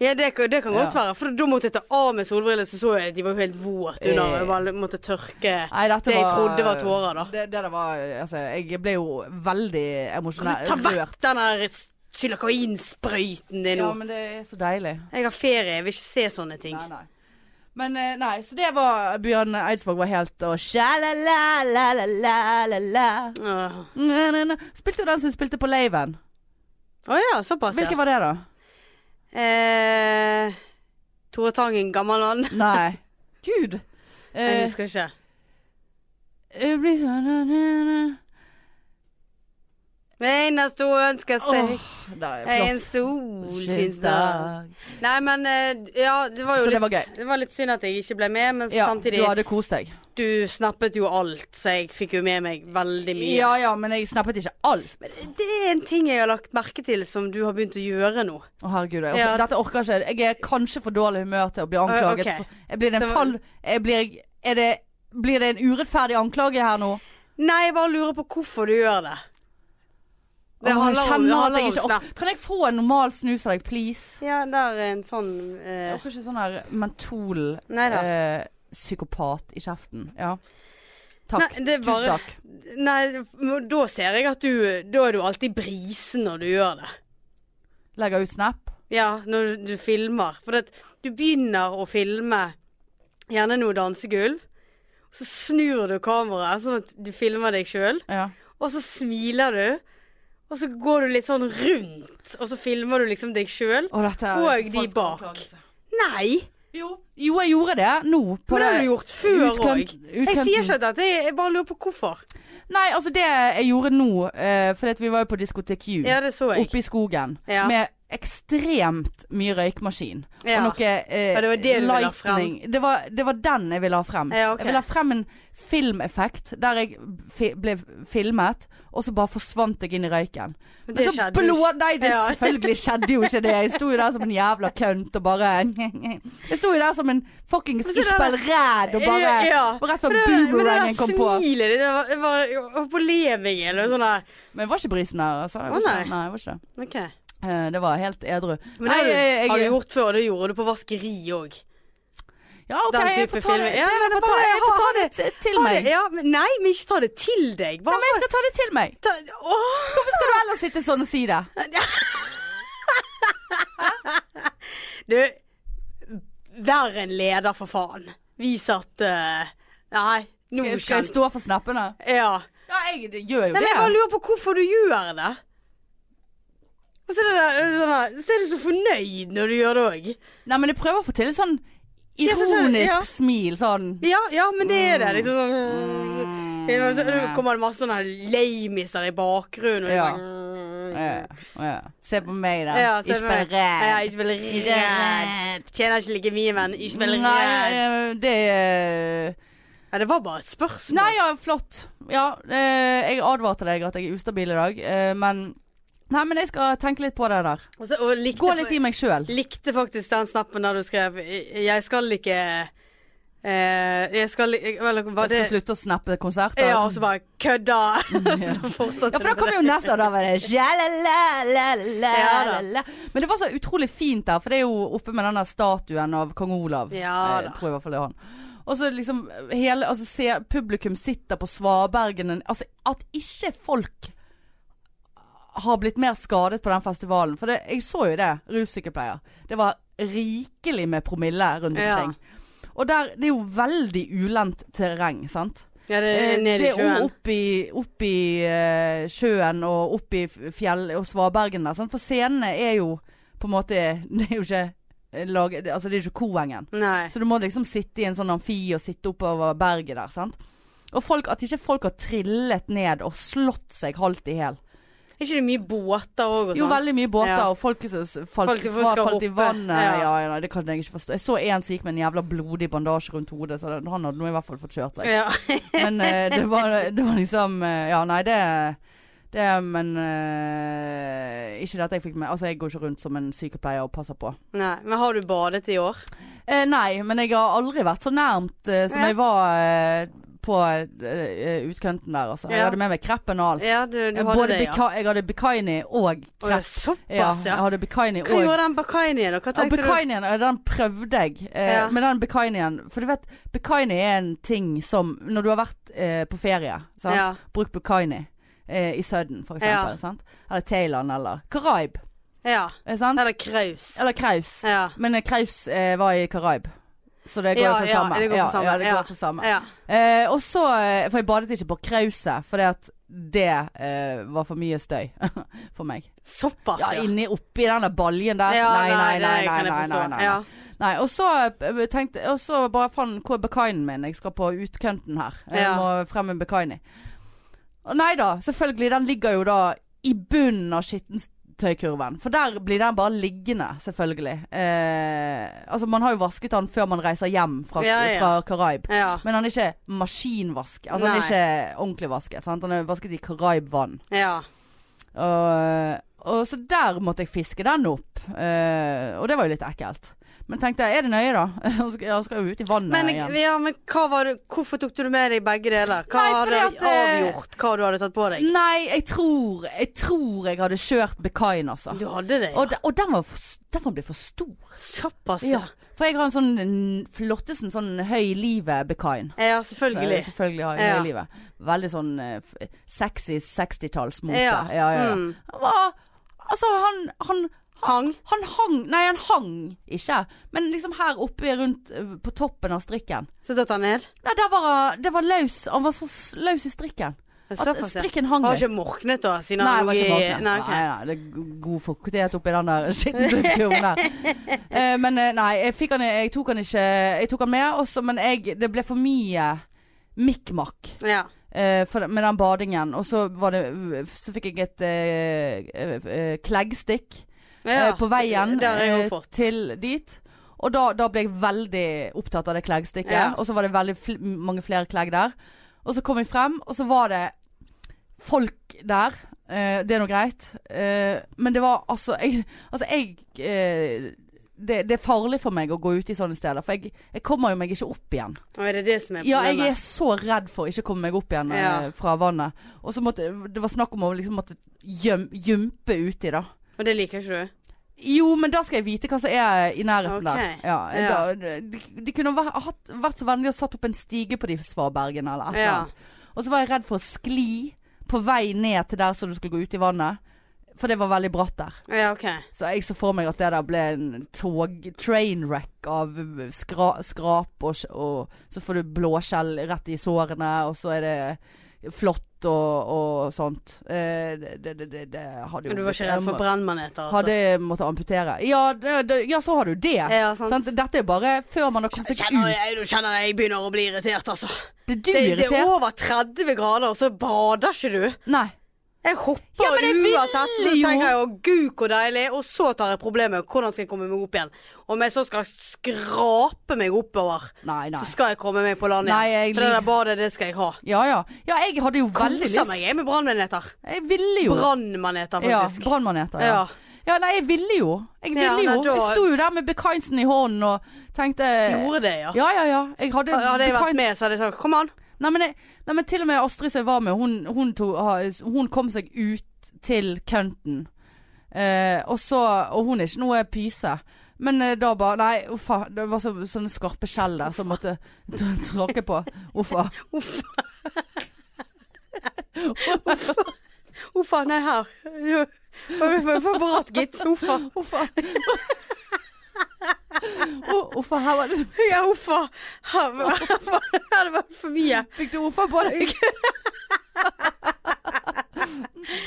Ja, det, kan- det kan godt Ja. være. For da måtte jeg ta av meg solbrillene, så så jeg at de var jo helt våte under. Jeg bare måtte tørke Nei, dette det jeg var- trodde var tårer, da. Det, det der var Altså, jeg ble jo veldig emosjonell. Ta rørt. vekk den der silikoinsprøyten din Ja, nå. men det er så deilig. Jeg har ferie, jeg vil ikke se sånne ting. Nei, nei. Men eh, nei, så det var Bjørn Eidsvåg var helt og sjalala-la-la-la-la. Åh. Spilte jo den som spilte på laven. Å ja, såpass, Hvilken ja. var det, da? Eh, Tore Tangen, gammel ånd. Nei. Gud. Jeg Eh, husker ikke. jeg blir sånn na, na, na. Eneste hun ønsker seg, Åh, det er er en flott. solskinnsdag. Nei, men eh, ja, det var jo Så det litt, var gøy. det var litt synd at jeg ikke ble med, men Ja, samtidig du hadde kost deg. Du snappet jo alt, så jeg fikk jo med meg veldig mye. Ja ja, men jeg snappet ikke alt. Men det er en ting jeg har lagt merke til som du har begynt å gjøre nå. Å herregud, jeg, Ja. dette orker jeg ikke. Jeg er kanskje for dårlig humør til å bli anklaget. ok. for- Jeg blir det Det en var- fall... Jeg blir, er det, blir det en urettferdig anklage her nå? Nei, jeg bare lurer på hvorfor du gjør det. Det Åh, jeg handler om, det kjenner at handler jeg om ikke- snap. Kan jeg få en normal snus av deg, please? Ja, der er en sånn Jeg eh, orker ikke sånn her mentol-psykopat Nei da. eh, psykopat i kjeften. Ja. Takk. Nei, det er bare- Tusen takk. Nei, men da ser jeg at du Da er du alltid brisen når du gjør det. Legger ut snap. Ja, når du, du filmer. For det, at du begynner å filme gjerne noe dansegulv. Så snur du kameraet sånn at du filmer deg sjøl, Ja. og så smiler du. Og så går du litt sånn rundt, og så filmer du liksom deg sjøl. Og, dette er Og en de forfalsk bak. anklagelse. Nei! Jo. jo, jeg gjorde det nå. på Men det har det- du gjort før utkant- òg. Jeg sier ikke at dette, er- jeg bare lurer på hvorfor. Nei, altså det jeg gjorde nå, eh, fordi at vi var jo på Diskotek Q Ja, det så jeg. oppe i skogen Ja. med ekstremt mye røykmaskin. Ja. Og noe eh, Ja, det var det du ville ha frem. lightning. Det var, det var den jeg ville ha frem. Ja, ok. Jeg ville ha frem en filmeffekt der jeg fi ble filmet, og så bare forsvant jeg inn i røyken. Men Men det så skjedde jo blå ikke. Nei, det Ja. selvfølgelig skjedde jo ikke det. Jeg sto jo der som en jævla kønt og bare Jeg sto jo der som en fuckings Men så det der- Isbel Ræd og bare Ja, ja. Og rett Men før det, men det der boomerangen kom på. smilet ditt, det var, det var og på levingen eller sånn der. Men jeg var ikke brisen her, altså. Jeg Å, var nei. ikke, nei, jeg var ikke. det. Ok. Eh, Det var helt edru. Men det Nei, har du- jeg- jeg- har du gjort før, og det gjorde du på vaskeri òg. Ja, ok, den jeg type får ta det, filmer? Ja, det- men jeg får bare- ta- jeg får ha- ta ha det t- til meg. Ja, men, nei, men ikke ta det til deg. Bare Men jeg skal ta det til meg. ta Åh! Hvorfor skal du ellers sitte sånn og si det? Du, verre enn leder, for faen. Vi satt eh, Nei, nå Skal jeg- Skal jeg kjente stå for snappene? Ja. Ja, jeg det gjør Nei, jo men jeg bare det. lurer på hvorfor du gjør det. Og så er, det der, sånn der, så er du så fornøyd når du gjør det òg. Nei, men jeg prøver å få til et sånn Ja, så- så- ironisk ja. smil, sånn. Ja, ja, men det er det. Liksom Mm. sånn Og Så da kommer det masse sånne lamiser i bakgrunnen. Og Ja. ja. Ja, ja. Se på meg, da. Ja, se ikke på meg. bare Ja, redd. ikke vær redd. Tjener ikke like mye, men ikke vær Nei, redd. eh, det eh, er Ja, det var bare et spørsmål. Nei, ja, flott. Ja, eh, jeg advarte deg at jeg er ustabil i dag, eh, men Nei, men jeg skal tenke litt på det der. Og så, og likte, Gå litt i meg sjøl. Likte faktisk den snappen der du skrev Jeg skal ikke eh, Jeg skal ikke Vel, var Jeg det skal slutte å snappe konserter. Ja, og så bare kødda. så fortsatte Ja, for da kom jo neste, og da var det Ja, «Sjalalalalalala». Men det var så utrolig fint der, for det er jo oppe med den der statuen av kong Olav. Ja Eh, da. tror jeg i hvert fall det er han. Og så liksom hele Altså se publikum sitter på svabergene Altså at ikke folk har blitt mer skadet på den festivalen. For det, jeg så jo det, russykepleier. Det var rikelig med promille rundt Ja. omkring. Og der, det er jo veldig ulendt terreng, sant? Ja, det Eh, er ned i det er jo sjøen. opp i, opp i eh, sjøen og opp i f- fjell og svabergen der. sant? For scenene er jo på en måte Det er jo ikke eh, lag, det, Altså det er jo ikke Koengen. Nei. Så du må liksom sitte i en sånn amfi og sitte oppover berget der. sant? Og folk, at ikke folk har trillet ned og slått seg halvt i hæl. Er ikke det mye båter òg og sånn? Jo, veldig mye båter, Ja. og folk som s- falt, Folk som fra, skal falt i hoppe. vannet. Ja. Ja. Ja, nei, det kan jeg ikke forstå. Jeg så en som gikk med en jævla blodig bandasje rundt hodet, så den- han hadde nå i hvert fall fått kjørt seg. Ja. Men eh, det, var, det var liksom eh, Ja, nei, det, det Men eh, ikke dette jeg fikk med. Altså, jeg går ikke rundt som en sykepleier og passer på. Nei. Men har du badet i år? Eh, nei, men jeg har aldri vært så nærmt eh, som Ja. jeg var eh, på eh, utkanten der, altså. Jeg Ja. hadde med meg kreppen og alt. Ja, du, du Jeg, hadde både det, ja. bika jeg hadde bikini og Å, ja, krepp. Ja, såpass, ja. jeg hadde bikini Hva og gjorde den bakinien, da? Hva Ja, tenkte du? Bikinien, ja, den prøvde jeg. Eh, Ja. Men den bikinien For du vet, bikini er en ting som Når du har vært eh, på ferie, sant? Ja. bruk bikini eh, i Sudden, for eksempel. Ja. Sant? Eller Thailand, eller Karaib. Ja. Eh, sant? Eller kraus. Eller Kraus. Ja. Men eh, Kraus eh, var i Karaib. Så det går jo Ja, for ja, samme. det går for Ja, samme. Ja, det Ja. går for samme. Ja. Eh, og så eh, For jeg badet ikke på krauset, fordi at det eh, var for mye støy for meg. Såpass, Ja, inni oppi den der baljen der. Ja, nei, nei, nei. det nei, kan jeg nei, nei, forstå. nei. Ja. nei. Og så eh, tenkte Og så bare faen, hvor er bekainen min? Jeg skal på utkønten her. Jeg Ja. må frem med bekaini. Og Nei da, selvfølgelig. Den ligger jo da i bunnen av skittentøykurven. For der blir den bare liggende, selvfølgelig. Eh, altså, man har jo vasket den før man reiser hjem fra, Ja, ja. fra Karaib. Ja. Men han er ikke maskinvask. Altså Han er Nei. ikke ordentlig vasket. Sant? Han er vasket i karaibvann. ja. Og, og så der måtte jeg fiske den opp. Eh, og det var jo litt ekkelt. Men tenkte jeg, er det nøye da? Han skal, han skal jo ut i vannet Men, igjen. ja, men hva var det, hvorfor tok du med deg begge deler? Hva Nei, fordi hadde at, eh, avgjort hva du hadde tatt på deg? Nei, jeg tror jeg tror jeg hadde kjørt Bekain, altså. Du hadde det, ja. Og, de, og den, var for, s- den var blitt for stor. Såpass, ja. Ja. For jeg har en sånn en flottesen sånn høy livet-Bekain. Ja, selvfølgelig. Selvfølgelig har jeg Ja. høy livet. Veldig sånn eh, f- sexy 60-tallsmote. Ja. Ja, ja, ja. Mm. Han var Altså, han, han Hang. Han hang Nei, han hang ikke. Men liksom her oppe rundt eh, på toppen av strikken. Så datt han ned. Nei, der var han- det var løs. Han var så s- løs i strikken. At Såpass, ja. strikken hang Har litt. ikke morknet da, siden Nei, han det var lå ikke i våkne. Nei, Nei, ok. nei, det er go- god fuktighet oppi den der skittentøyskurven der. Eh, men eh, nei, jeg, fikk han, jeg tok han ikke Jeg tok han med, også, men jeg, det ble for mye mikk-makk Ja. eh, for- med den badingen. Og så, var det, så fikk jeg et eh, eh, eh, kleggstikk ja. eh, på veien Det har jeg eh, jo fått. til dit. Og da, da ble jeg veldig opptatt av det kleggstikket. Ja. Og så var det veldig fl mange flere klegg der. Og så kom jeg frem, og så var det folk der. Eh, det er nå greit. Eh, men det var altså Jeg, altså, jeg eh, det, det er farlig for meg å gå ut i sånne steder, for jeg, jeg kommer jo meg ikke opp igjen. Og er det det som er Ja, problemet? jeg er så redd for å ikke komme meg opp igjen eh, Ja. fra vannet. Og så måtte det var snakk om å liksom måtte gjem, gympe uti, da. Og det liker ikke du? Jo, men da skal jeg vite hva som er i Ok. nærheten der. Ja, Ja. Da, de, de kunne vært, hatt, vært så vennlige og satt opp en stige på de svabergene eller et eller Ja. annet. Og så var jeg redd for å skli på vei ned til der så du skulle gå ut i vannet. For det var veldig bratt der. Ja, ok. Så jeg så for meg at det der ble en tog, trainwreck av skra, skrap, og, sj- og så får du blåskjell rett i sårene, og så er det flott og, og sånt. Eh, det, det, det, det, det hadde jo Men du var blitt- ikke redd for brennmaneter, altså? hadde jeg måttet amputere. Ja, det, det, ja, så har du det. Ja, sant. Sant? Dette er bare før man har kommet seg Kjenner ut. jeg, du kjenner jeg begynner å bli irritert, altså. Blir Det, du det er irritert? over 30 grader, og så bader ikke du. Nei. Jeg hopper Ja, men jeg vil uansett, så jo. tenker jeg å gud hvor deilig, og så tar jeg problemet hvordan skal jeg komme meg opp igjen. Om jeg så skal skrape meg oppover, Nei, så nei. skal jeg komme meg på land igjen. Nei, jeg For det lik- der badet, det skal jeg ha. Ja, ja. Ja, jeg hadde jo veldig Koser meg lyst. jeg med brannmaneter. Jeg ville jo. Brannmaneter, Ja, faktisk. brannmaneter. Ja. Ja. ja, nei, jeg ville jo. Jeg Ja, ville jo. nei, da- Jeg sto jo der med Becainsen i hånden og tenkte Gjorde det, ja. Ja, ja, ja. Jeg hadde Hadde jeg Becainsen- vært med, så hadde jeg sagt kom an. Nei men, jeg, nei, men til og med Astrid som jeg var med, hun, hun, to, ha- hun kom seg ut til kønten. Eh, og, så, og hun er ikke noe pyse. Men eh, da bare Nei, uffa. Det var så, sånne skarpe skjell der som måtte tr- tråkke på. Uffa. Uffa, nei, her. Var du for- for bratt, gitt? Uffa. Uffa. Å, Uffa, her var det Ja, uffa. Her var- her var det for mye. Fikk du uffa på deg?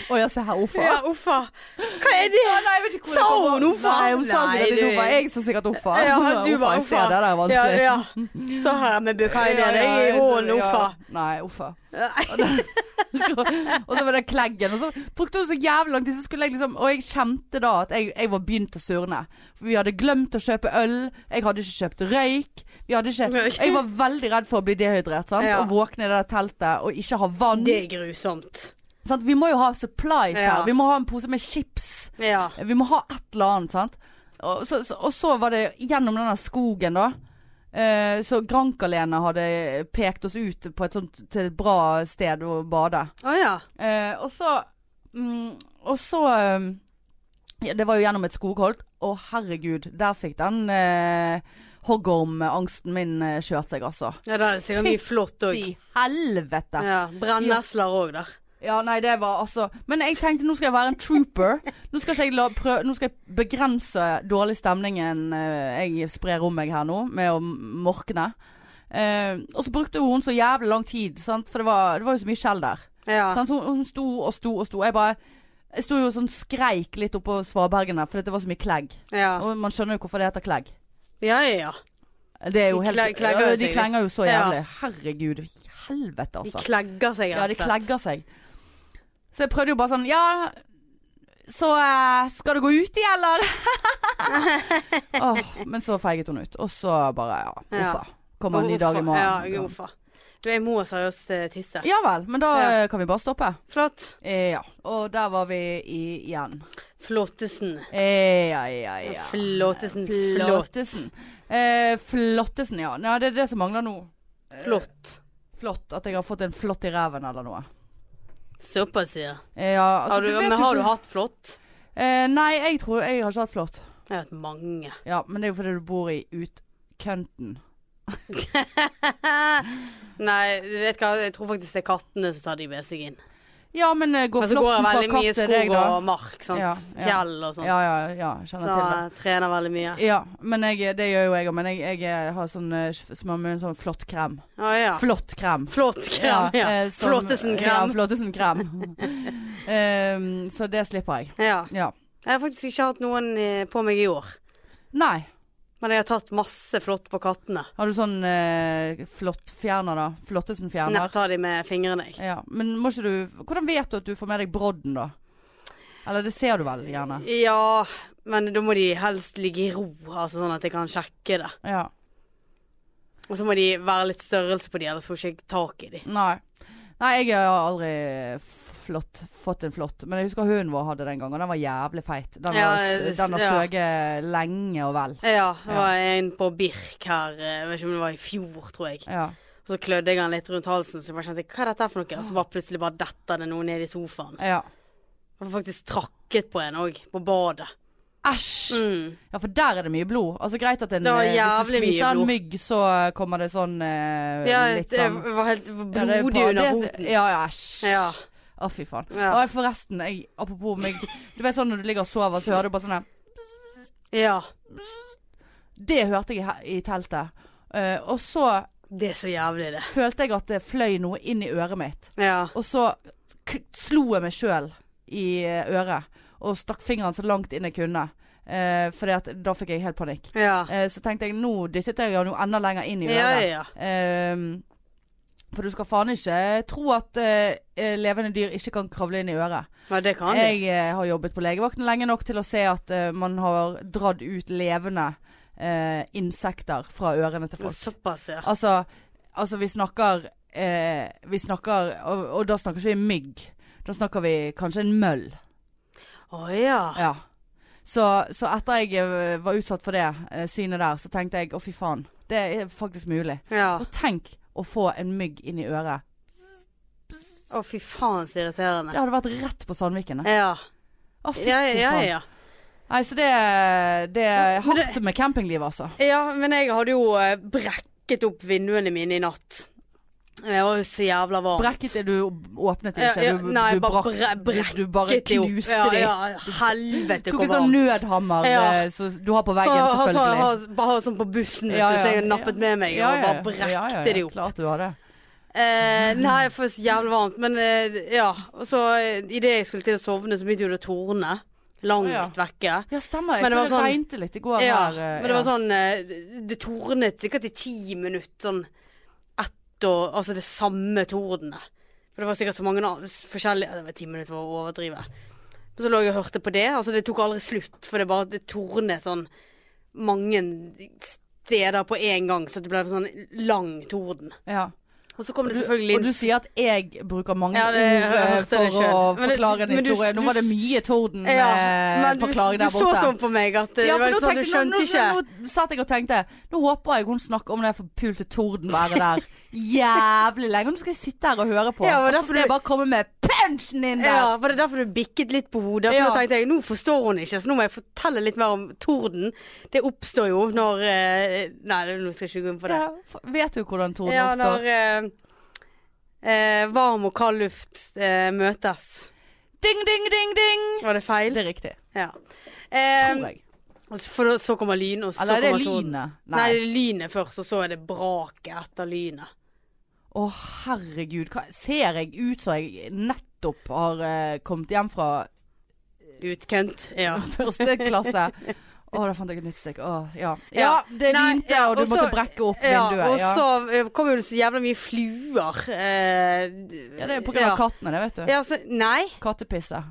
Å ja, se her. Uffa. Ja, uffa. Hva er det? Å, nei, jeg vet ikke hvor Sa det kommer. hun uffa? Nei, hun sa Nei, sikkert ikke det- uffa. Jeg sa sikkert uffa. Ja, du var Jeg ser uffa. det, det er Ja, vanskelig. ja. Står her med bukaien Ja, ja, i jeg- hånden, ja. uffa. Nei, uffa. og så var det kleggen. Og så brukte hun så jævlig lang tid, så skulle jeg liksom Og jeg kjente da at jeg, jeg var begynt å surne. For vi hadde glemt å kjøpe øl. Jeg hadde ikke kjøpt røyk. Vi hadde ikke Jeg var veldig redd for å bli dehydrert. Sant? Ja. Og våkne i det der teltet og ikke ha vann. Det er grusomt. Sant? Vi må jo ha supplies Ja. her. Vi må ha en pose med chips. Ja. Vi må ha et eller annet, sant? Og så, så, og så var det gjennom denne skogen, da. Eh, så Grankalene hadde pekt oss ut på et sånt til et bra sted å bade. Å ja. Eh, og så mm, Og så eh, ja, Det var jo gjennom et skogholt. Å, herregud. Der fikk den eh, hoggormangsten min eh, kjørt seg, altså. ja. Der er det sikkert mye flott òg. I helvete. Ja, Brennesler òg der. Ja, nei, det var altså Men jeg tenkte nå skal jeg være en trooper. Nå skal, ikke jeg la, prø nå skal jeg begrense dårlig stemningen eh, jeg sprer om meg her nå, med å morkne. Eh, og så brukte hun så jævlig lang tid, sant? for det var, det var jo så mye skjell der. Ja. Sant? Så Hun, hun sto og sto og sto. Jeg bare jeg sto jo sånn skreik litt oppå svabergene, for det var så mye klegg. Ja, Og man skjønner jo hvorfor det heter klegg. ja. ja, ja. Det er jo De helt, kle- klegger Ja, seg. de klenger jo så Ja. jævlig. Herregud. Helvete, De altså. klegger seg, Ja, de klegger seg. Så jeg prøvde jo bare sånn Ja, så eh, skal du gå uti, eller? Åh, men så feiget hun ut. Og så bare, ja. Ja. Uffa. Kommer en ny dag i Ja, morgen. uffa. Du, jeg må seriøst eh, tisse. Ja vel. Men da Ja. eh, kan vi bare stoppe. Flott. Eh, ja. Og der var vi i, igjen. Flottesen. Eh, ja, ja, ja. sånn Flottesens flott. Flottesen. Eh, flottesen, ja. ja. Det er det som mangler nå. Flott. Flott. At jeg har fått en flott i ræven eller noe. Såpass, ja. Eh, ja, altså, Har du, du vet men jo har ikke- du hatt flott? Eh, nei, jeg tror jeg har ikke hatt flott. Jeg har hatt mange. Ja, men det er jo fordi du bor i utkønten. Nei, du vet hva, jeg tror faktisk det er kattene som tar de med seg inn. Ja, men eh, går Men så går jeg flåtten fra veldig mye katt til deg, skog da? og mark, sant. Ja, ja. Fjell og sånn. Ja, ja, ja. jeg så eh, Kjenner til det. jeg trener veldig mye. Ja, men jeg, det gjør jo jeg òg. Men jeg, jeg eh, har sånn eh, smør med en sånn flott krem. Å ja. Flott krem. Flott krem, ja. eh, som- Ja, Flottesen-krem. flottesen krem. Ehm, så det slipper jeg. Ja. Ja. Jeg har faktisk ikke hatt noen eh, på meg i år. Nei. Men jeg har tatt masse flott på kattene. Har du sånn eh, flott fjerner, da? Nei, Flottesen-fjerner? tar de med fingrene, jeg. Ja, men må ikke du Hvordan vet du at du får med deg brodden, da? Eller det ser du vel gjerne? Ja, men da må de helst ligge i ro, altså sånn at jeg kan sjekke det. Ja. Og så må de være litt størrelse på de, ellers får ikke jeg tak i de. Nei. Nei, jeg har aldri f- flott, fått en flott. Men jeg husker hunden vår hadde den gangen, og den var jævlig feit. Den, Ja, har, s- den har ja. søket lenge og vel. Ja, det var en på Birk her, eh, jeg vet ikke om det var i fjor, tror jeg. Ja. Og Og så klødde jeg han litt rundt halsen, så jeg bare kjente, hva er dette her for noe? Og så bare plutselig bare detter det noe ned i sofaen. ja. Jeg var faktisk trakket på en òg, på badet. Æsj! Mm. Ja, for der er det mye blod. Altså Greit at en, Det var eh, hvis du jævlig mye spiser en blod. mygg, så kommer det sånn eh, Ja, litt det sånn var helt Ja, det er blodig på- under det- foten. Ja, ja, æsj. Ja. Å, fy faen. Ja. Og jeg, forresten, jeg, apropos meg Du vet sånn når du ligger og sover, så hører du bare sånn her ja. Det hørte jeg he- i teltet. Eh, og så Det er så jævlig, det. følte jeg at det fløy noe inn i øret mitt. Ja. Og så k slo jeg meg sjøl i eh, øret og stakk fingeren så langt inn jeg kunne. Uh, For da fikk jeg helt panikk. Ja. Eh, så tenkte jeg nå dyttet jeg den jo enda lenger inn i øret. Ja, ja. Ehm, for du skal faen ikke tro at eh, eh, levende dyr ikke kan kravle inn i øret. Ja, det kan de. Jeg eh, har jobbet på legevakten lenge nok til å se at eh, man har dratt ut levende eh, insekter fra ørene til folk. Såpass, ja. Altså, altså vi snakker, eh, vi snakker og, og da snakker ikke vi mygg. Da snakker vi kanskje en møll. Å ja. Ja. Så, så etter jeg eh, var utsatt for det eh, synet der, så tenkte jeg å fy faen, det er faktisk mulig. Ja. Og tenk å få en mygg inn i øret. Å, fy faen så Det irriterende. hadde vært rett på Sandviken. det. Ja. Å, fytti Ja, ja, faen. ja. Nei, så det, det er Men det- hardt med campinglivet, altså. Ja, men jeg hadde jo eh, brekket opp vinduene mine i natt. Jeg var jo så jævla varm. Brekket er du åpnet Ja, ikke. ja, Du, nei, du, bare brakk, bre- du bare Brekket de opp. knuste ja, de. Ja, helvete Tok hvor en sånn varmt. nødhammer Ja. eh, så du har på Så veggen, har- så selvfølgelig. har- bare sånn på bussen, vet Ja, du, så ja, jeg nappet med meg og bare brekte ja, ja, de opp. Klart du har det. Eh, nei, for så jævlig varmt. Men eh, ja. Og så idet jeg skulle til å sovne, så begynte jo det å tordne. Langt Ja. vekke. Ja, stemmer. Men det Jeg var tror det sånn- regnet litt i går Ja, her. eh, men det var ja. sånn eh, det- Det tornet sikkert i ti minutter, sånn ett og Altså det samme tordenet. For det var sikkert så mange an- s- forskjellige Det var ti minutter for å overdrive. Men så lå jeg og hørte på det. Altså det tok aldri slutt, for det bare det tornet sånn mange steder på en gang, så det ble sånn lang torden. Ja. Og så kom det Du, selvfølgelig og du sier at jeg bruker mange Ja, det- jeg ord eh, hørte det for å selv. Men det- forklare en men du- historie. Nå du- var det men mye du, Torden-forklaring du eh, der så borte. sånn på meg at eh, Ja, det var sånn, for nå du tenkte- skjønte nå- ikke. nå, nå, nå satt jeg og tenkte Nå håper jeg hun snakker om det forpulte tordenværet der jævlig lenge. Nå skal jeg sitte her og høre på. Ja, men og så derfor skal du- jeg bare komme med punchen inn der. Ja, var det derfor du bikket litt på hodet? For Ja. da tenkte jeg, nå forstår hun ikke, så nå må jeg fortelle litt mer om torden. Det oppstår jo når eh, Nei, nå skal jeg ikke gå inn på det. Ja, for- vet du hvordan torden Ja, oppstår? når eh, Eh, varm og kald luft eh, møtes. Ding, ding, ding, ding! Var det feil? Det er riktig. Ja. Eh, Tror jeg. og så- for så kommer lyn, og så Eller er det kommer torden. lynet? Nei, det er lynet først, og så er det braket etter lynet. Å, herregud. Hva, ser jeg ut som jeg nettopp har eh, kommet hjem fra Utkønt. Ja. første klasse? Å, da fant jeg et nytt stykke. Å, ja. ja. Ja. Det Nei, lynte, ja, og du og så- måtte brekke opp Ja, og vinduet. Ja, så eh, kom jo det så jævla mye fluer. eh, ja det er på grunn av kattene, det, vet du. Ja, altså, nei. Kattepisse.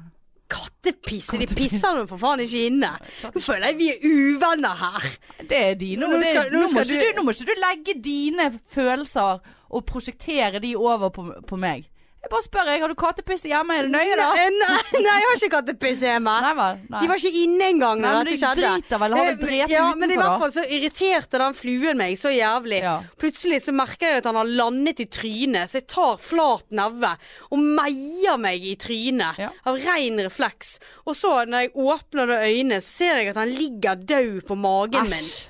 Kattepisse. De Kattepisse. pisser nå for faen ikke inne. Nå føler jeg vi er uvenner her. Det er dine. Nå Nå, det, skal- nå nå, skal må ikke du- du, nå må ikke du legge dine følelser og prosjektere de over på, på meg. Jeg bare spør, jeg. Har du kattepiss hjemme? Er du nøye, da? Nei, nei, nei, jeg har ikke kattepiss hjemme. Nei vel. Nei. De var ikke inne engang Nei, da men dette de skjedde. driter vel, har vel Eh, drept ja, men i utenfor, hvert da. fall så irriterte den fluen meg så jævlig. Ja. Plutselig så merker jeg at han har landet i trynet, så jeg tar flat neve og meier meg i trynet Ja. av ren refleks. Og så, når jeg åpner da øynene, så ser jeg at han ligger død på magen min. Æsj.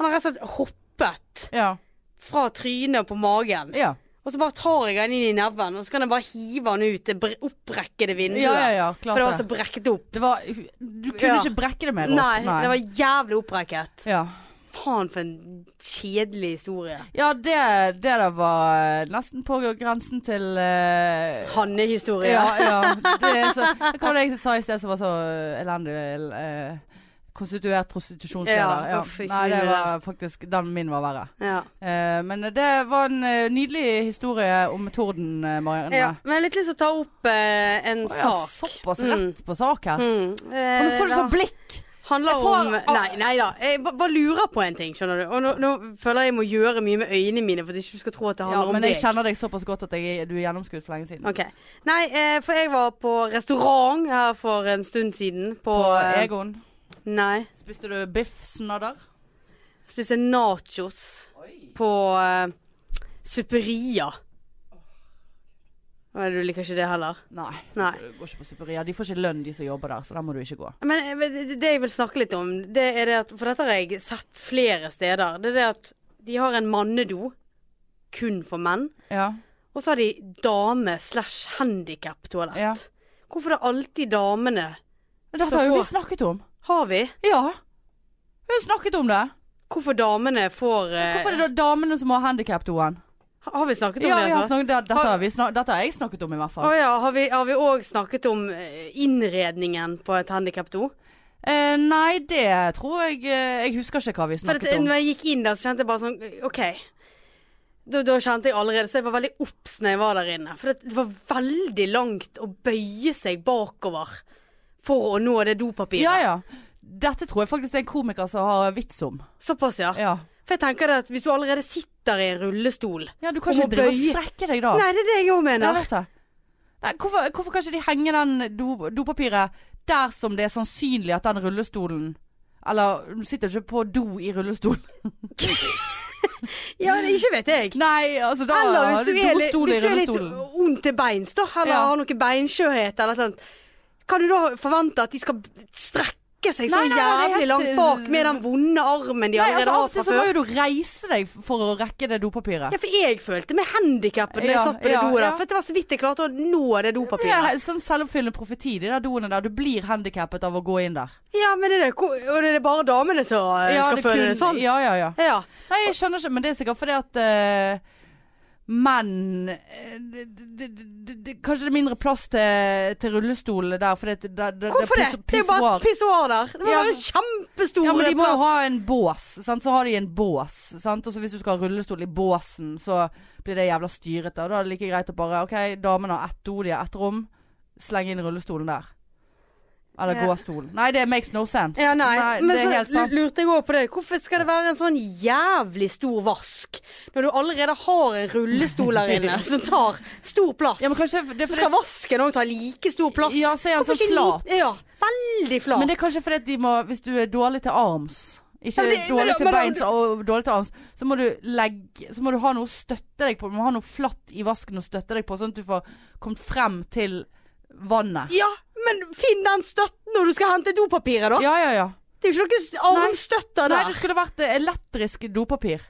Han har rett og slett hoppet Ja. fra trynet og på magen. Ja. Og så bare tar jeg han inn i neven, og så kan jeg bare hive han ut det bre- opprekkede vinduet. ja, ja, ja. For Klart det det. var så brekket opp. det var, du kunne Ja. ikke brekke det mer opp. Nei, det var jævlig opprekket. ja. Faen for en kjedelig historie. Ja, det, det der var eh, nesten på grensen til eh, Hanne-historie. Ja, ja. Det er så, hva var det jeg sa i sted som var så elendig? eh, konstituert prostitusjonsleder. Ja, Ja, uff, ikke Nei, begynn det med var faktisk Den min var verre. Ja. Eh, men det var en eh, nydelig historie om torden, eh, Marianne. Ja, men jeg har litt lyst til å ta opp eh, en Å, ja, sak. Såpass Mm. rett på sak her. Mm. Eh, Og nå får du det sånn blikk! handler Jeg får- Ah. om Nei, nei da. Jeg ba- bare lurer på en ting, skjønner du. Og nå, nå føler jeg jeg må gjøre mye med øynene mine for at ikke du skal tro at det Ja, handler om men deg. jeg kjenner deg såpass godt at jeg, du er gjennomskuet for lenge siden. Ok. Nei, eh, for jeg var på restaurant her for en stund siden. På, På eh, Egon. Nei. Spiste du biffsnadder? Spiste nachos på eh, Supperia. Nei, Du liker ikke det heller? Nei. Nei. Du går ikke på supperia. De får ikke lønn, de som jobber der, så der må du ikke gå. Men eh, men det- det jeg vil snakke litt om, det er det at For dette har jeg sett flere steder. Det er det at de har en mannedo kun for menn. Ja. Og så har de dame slash handikap-toalett. Ja. Hvorfor er det alltid damene? Men dette Så har jo få- vi snakket om. Har vi? Ja. Vi har jo snakket om det. Hvorfor damene får eh, Hvorfor er det da damene som har handikap-doen? ha- Har vi snakket om Ja, det? vi har altså? snakket, det- dette, har vi snak, dette har jeg snakket om, i Å hvert fall. ja, har vi- har vi òg snakket om eh, innredningen på et handikap-do? Eh, nei, det tror jeg eh, Jeg husker ikke hva vi For at, snakket eh, om. når jeg gikk inn der, så kjente jeg bare sånn OK. Da, da kjente jeg allerede Så jeg var veldig obs når jeg var der inne. For det, det var veldig langt å bøye seg bakover for å nå det dopapiret. Ja, ja. Dette tror jeg faktisk det er en komiker som har vits om. Såpass, ja. Ja, For jeg tenker det at hvis du allerede sitter i en rullestol ja du kan Om å ikke drive og bøye- strekke deg da. Nei, det er det jeg òg Nei, mener. vet jeg. Nei, hvorfor, hvorfor kan ikke de henge den do, dopapiret der som det er sannsynlig at den rullestolen Eller du sitter ikke på do i rullestolen. Ja, det, ikke vet jeg. Nei, altså da Eller har hvis du er, litt- dostol i hvis du er litt rullestolen. ond til beins, da, eller Ja. har noe beinskjørhet eller noe sånt, kan du da forvente at de skal strekke seg så Nei, nei, nei, det er jævlig helt- langt bak med den vonde armen de Nei, allerede har altså Av og fra til så må før? jo du reise deg for å rekke det dopapiret. Ja, for jeg følte meg handikappet når Ja, jeg satt på det ja, doet der. ja. For det var så vidt jeg klarte å nå det Det er dopapiret. sånn selvoppfyllende profeti, de der doene der. Du blir handikappet av å gå inn der. Ja, men er det, ko- og det er bare damene som eh, skal det føle kun- det sånn? Ja, ja, ja. Ja. Nei, jeg skjønner ikke, men det er sikkert fordi at eh, menn eh, det- det- det- det- Kanskje det er mindre plass til, til rullestolene der, fordi at det, det, det, Hvorfor det? piss- Det er jo bare pissoar. et pissoar der. Det var Ja. bare en kjempestor Ja, men de må jo plass. ha en bås, sant? så har de en bås. Sant? Og så hvis du skal ha rullestol i båsen, så blir det jævla styrete. Og da er det like greit å bare OK, damene har ett do, de har ett rom. Sleng inn rullestolen der. Eller Ja. gåstolen. Nei, det makes no sense. Ja, nei, men det er helt så sant. lurte jeg òg på det. Hvorfor skal det være en sånn jævlig stor vask når du allerede har en rullestol der inne som tar stor plass? Ja, men kanskje det er så fordi- skal vasken òg ta like stor plass. Ja, så er den Hvorfor så ikke en flat. liten- Ja, veldig flat. Men det er kanskje fordi at de må Hvis du er dårlig til arms Ikke Ja, men det- dårlig men- til men- beins og dårlig til arms Så må du legge Så må du ha noe å støtte deg på Du må ha noe flatt i vasken å støtte deg på Sånn at du får kommet frem til vannet Ja, men finn den støtten når du skal hente dopapiret, da. Ja, ja, ja Det er jo ikke noen s- armstøtter Nei, der. det skulle vært eh, elektrisk dopapir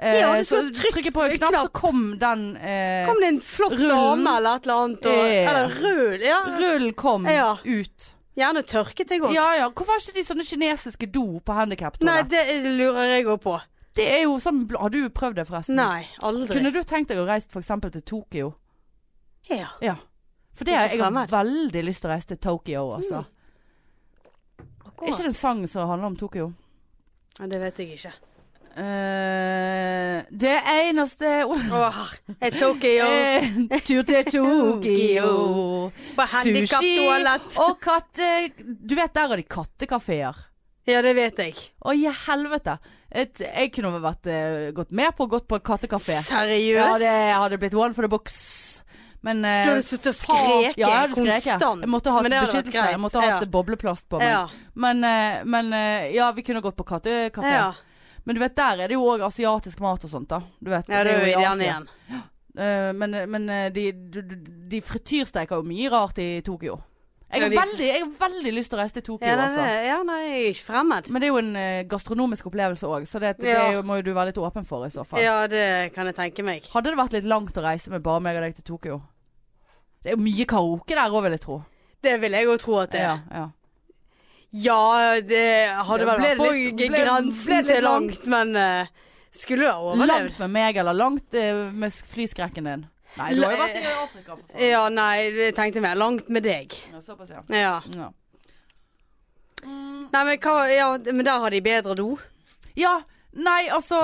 Eh, Ja, du så skulle trykke trykker på på en en knapp, så knapp. kom den eh, Kom det en flott Rullen. dame eller et eller annet? Og, Ja. Eller rull? Ja. Rullen kom Ja. ut. Gjerne tørket jeg òg. Ja ja. Hvorfor har ikke de sånne kinesiske do på Nei, handikaptoalett? det lurer jeg òg på. Det er jo sånn bl- Har du prøvd det, forresten? Nei, aldri. Kunne du tenkt deg å reise f.eks. til Tokyo? Ja. Ja. For det, Det er så jeg har fremmed. veldig lyst til å reise til Tokyo, altså. Er ikke det en sang som handler om Tokyo? Ja, Det vet jeg ikke. Eh, det eneste Åh, er Tokyo En Tur til Tokyo. på Sushi handikaptoalett. og katte... Du vet, der har de kattekafeer. Ja, det vet jeg. Å, i helvete. Et, jeg kunne vel vært eh, gått med på å gått på en kattekafé. Ja, Seriøst? det hadde blitt one for the box. Men eh, Du hadde sittet og faen- skreket ja, jeg hadde skreket. konstant. Jeg måtte ha men det hatt hadde vært beskyttelse. Jeg måtte ha hatt greit. bobleplast på meg. ja. Men, eh, men eh, ja, vi kunne gått på kattekafé. Ja. Ja. Men du vet, der er det jo òg asiatisk mat og sånt, da. Du vet, ja, det er jo i ideene Asia. igjen. Eh, men men eh, de, du- du- de frityrsteker jo mye rart i Tokyo. Jeg Ja, har, de- veldig, jeg har veldig lyst til å reise til Tokyo, Ja, det, altså. er- ja, nei, jeg er ikke fremmed. Men det er jo en eh, gastronomisk opplevelse òg, så det, det Ja. er jo, må jo du være litt åpen for i så fall. Ja, det kan jeg tenke meg. Hadde det vært litt langt å reise med bare meg og deg til Tokyo? Det er jo mye karaoke der òg, vil jeg tro. Det vil jeg jo tro at det er. Ja, ja. Ja, det Ja, hadde vel ble vært på litt- g- ble- ble grensen litt til langt, men eh, skulle du ha overlevd? Langt med meg, eller langt eh, med s- flyskrekken din? Nei, du har jo vært i Afrika. For faen. Ja, nei, jeg tenkte mer langt med deg. Ja, såpass, ja. Ja. Ja. Nei, men, hva, ja, men der har de bedre do. ja. Nei, altså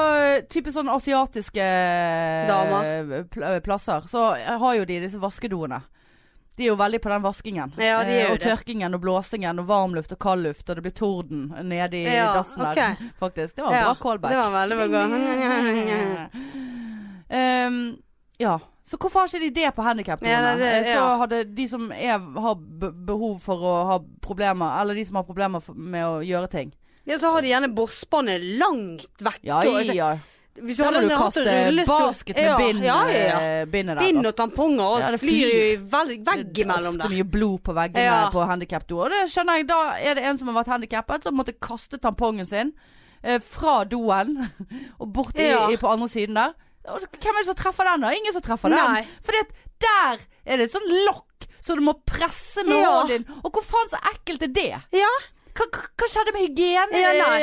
type sånne asiatiske eh, Damer. pl- plasser. Så eh, har jo de disse vaskedoene. De er jo veldig på den vaskingen. Ja, de er Eh, jo og det. tørkingen og blåsingen og varmluft og kaldluft, og det blir torden nede i Ja, dassen der, ok. faktisk. Det var en ja, bra callback. Det var veldig bra. Ehm, ja. Så hvorfor har ikke de det på Ja, nei, handikaptoene? det- Så ja. hadde de som er, har be- behov for å ha problemer, eller de som har problemer for, med å gjøre ting. Ja, så har de gjerne bossbåndet langt vekk. Ja, og- ja. Hvis Da må hadde du hatt kaste rullestol- basket med Ja, bind, Ja, ja, ja. eh, bindet der. Bind altså. og tamponger, og Ja, det det flyr jo flyr. i vegg, vegg imellom Ofte der. mye blod på veggene Ja. på handikapdo. Og det skjønner jeg, da er det en som har vært handikappet, som måtte kaste tampongen sin eh, fra doen og bort i, Ja. i, på andre siden der. Og så- hvem er det som treffer den, da? Ingen som treffer Nei. den. Fordi at der er det et sånn lokk som du må presse med Ja. hånden din. Og hvor faen så ekkelt er det? Ja, Hva, hva- hva skjedde med Ja, nei.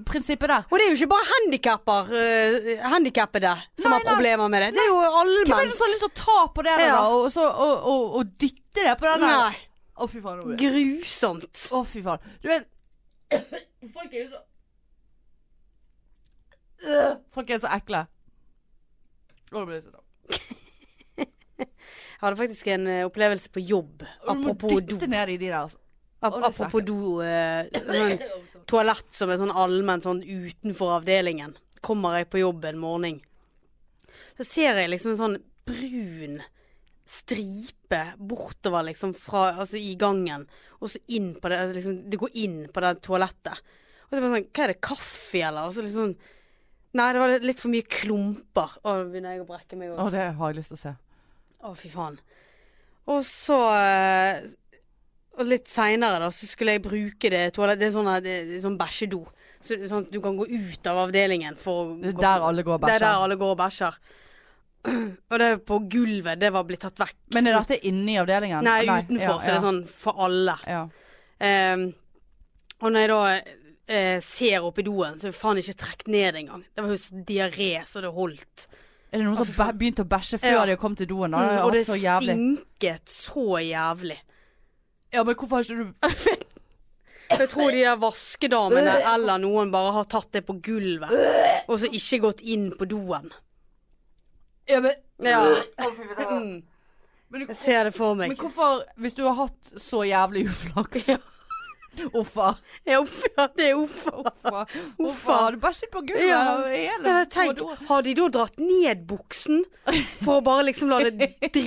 hygieneprinsippet der? Og det er jo ikke bare handikapper, eh, handikappede som Nei, har nei. problemer med det. Det er jo Hvem er det som har allment. lyst til å ta på det der, Ja. da? Og, så, og, og, og dytte det på den der? Nei, Å, fy faen. nå blir jeg- grusomt. Å, fy faen. Du vet Folk er jo så Øh, Folk er så ekle. Å, det blir så dumt. Jeg hadde faktisk en eh, opplevelse på jobb. Du Apropos må do. dytte ned i de der, altså. Ap Å, det er så apropos do. eh, sånn toalett som er sånn allment sånn utenfor avdelingen. Kommer jeg på jobb en morgen, så ser jeg liksom en sånn brun stripe bortover liksom fra Altså i gangen, og så inn på det altså, liksom, Det går inn på det toalettet. Og så er det sånn Hva er det, kaffe, eller? Og så liksom Nei, det var litt- litt for mye klumper. Å, nå begynner jeg å brekke meg òg. Å, det har jeg lyst til å se. Å, fy faen. Og så eh, Og litt seinere, da, så skulle jeg bruke det toalettet. Det er sånn, her- det er sånn bæsjedo. Så, det er sånn at du kan gå ut av avdelingen for å Det er gå- der alle går og Det er der bæsjer. alle går og bæsjer. Og det på gulvet, det var blitt tatt vekk. Men er dette inni avdelingen? Nei, utenfor, så det er sånn for alle. ja. Ehm, og når jeg da eh, ser opp i doen, så er faen ikke trukket ned engang. Det var jo så diaré så det holdt. Er det noen som fy bæ- begynte å bæsje før Ja. de kom til doen? Da? Mm, Det og det så jævlig. stinket så jævlig. Ja, men hvorfor har ikke du For Jeg tror de der vaskedamene eller noen bare har tatt det på gulvet, og så ikke gått inn på doen. ja, men, Ja, Mm. men, du- jeg ser det for men meg. hvorfor Hvis du har hatt så jævlig uflaks Ja. Uffa. Ja, uff, ja, det er uff. Uffa. Uffa. Har du bæsjet på gulvet? Ja. og hele Ja, tenk, korridoren? har de da dratt ned buksen for å bare liksom la det drite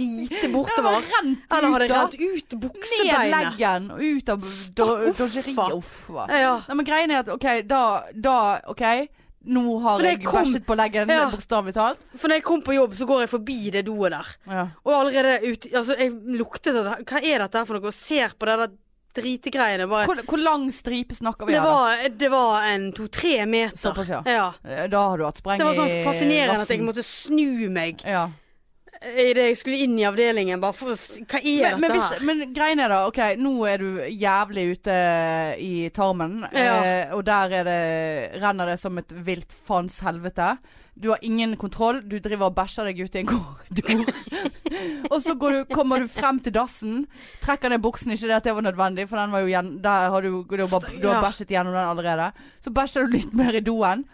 Ja, bortover? det har rent Eller har ut, det da. rent ut Ned buksebeinet? leggen og ut av do- Uffa. dodgeriet. Uffa. Ja. Nei, men greien er at OK, da, da OK. Nå har For det jeg kom- bæsjet på leggen, Ja. bokstavelig talt. For når jeg kom på jobb, så går jeg forbi det doet der. Ja. sånn, Og allerede ut, altså jeg luktet at Hva er dette her for noe? Og ser på det der dritegreiene bare Hvor, hvor lang stripe snakker vi det her, da? var, det var en to-tre meter. Såpass, ja. ja. Eh, Da har du hatt spreng i Det var sånn fascinerende at jeg rassen. måtte snu meg ja. idet jeg skulle inn i avdelingen. Bare for å s- Hva er Men, men, dette hvis, her? men greien er da, ok, nå er du jævlig ute i tarmen, Ja. eh, og der er det, renner det som et vilt faens helvete. Du har ingen kontroll, du driver og bæsjer deg ut i en korridor. og så går du, kommer du frem til dassen, trekker ned buksen, ikke det at det var nødvendig, for den var jo gjen, der har du, du, har, bare- du har Ja. bæsjet gjennom den allerede. Så bæsjer du litt mer i doen,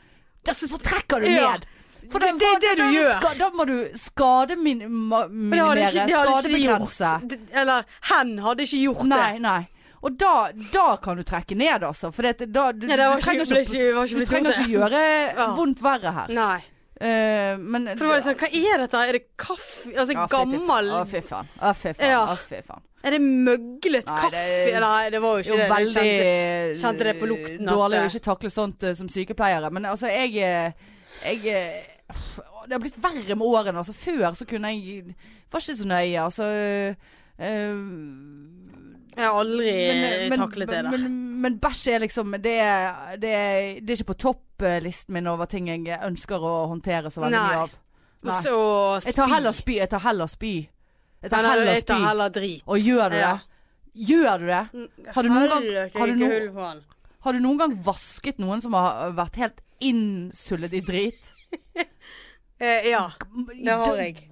der så trekker du Ja. ned. For Det- da- det er det da- du da- gjør. ska- Da må du skademinimere, Men det hadde ikke, det hadde ikke de skadebegrense. gjort. Det- Eller hen hadde ikke gjort Nei, det. nei. Og da, da kan du trekke ned, altså. For det, da, du, Nei, det var ikke, du trenger ble ikke, ikke, var ikke du blitt trenger gjort ikke det. gjøre Ja. vondt verre her. Nei. Eh, men For det var liksom, hva er dette? Er det kaffe? Altså Ja, fy til- gammel Å, fy faen. Å, fy faen. Ja. Å, fy faen. Er det møglet Nei, kaffe? det er- Nei, det var jo Jo, ikke det. Jeg veldig kjente- kjente det på lukten at Dårlig å det- ikke takle sånt eh, som sykepleiere. Men altså, jeg, eh, jeg eh, Det har blitt verre med årene. Altså, før så kunne jeg Var ikke så nøye. Altså eh, Jeg har aldri Men- men- taklet Eh, det der. Men, men bæsj er liksom det er, det, er, det er ikke på topplisten min over ting jeg ønsker å håndtere så veldig Nei. mye av. Og Nei. så Jeg tar heller spy. Jeg tar heller spy. Jeg tar Nei, nei, heller jeg tar spy. heller drit. Og gjør du det? Ja. Gjør du det? Har du noen gang- Helvete, har du ikke noen- hull på den. Har du noen gang vasket noen som har vært helt innsullet i drit? Eh, ja, det har jeg.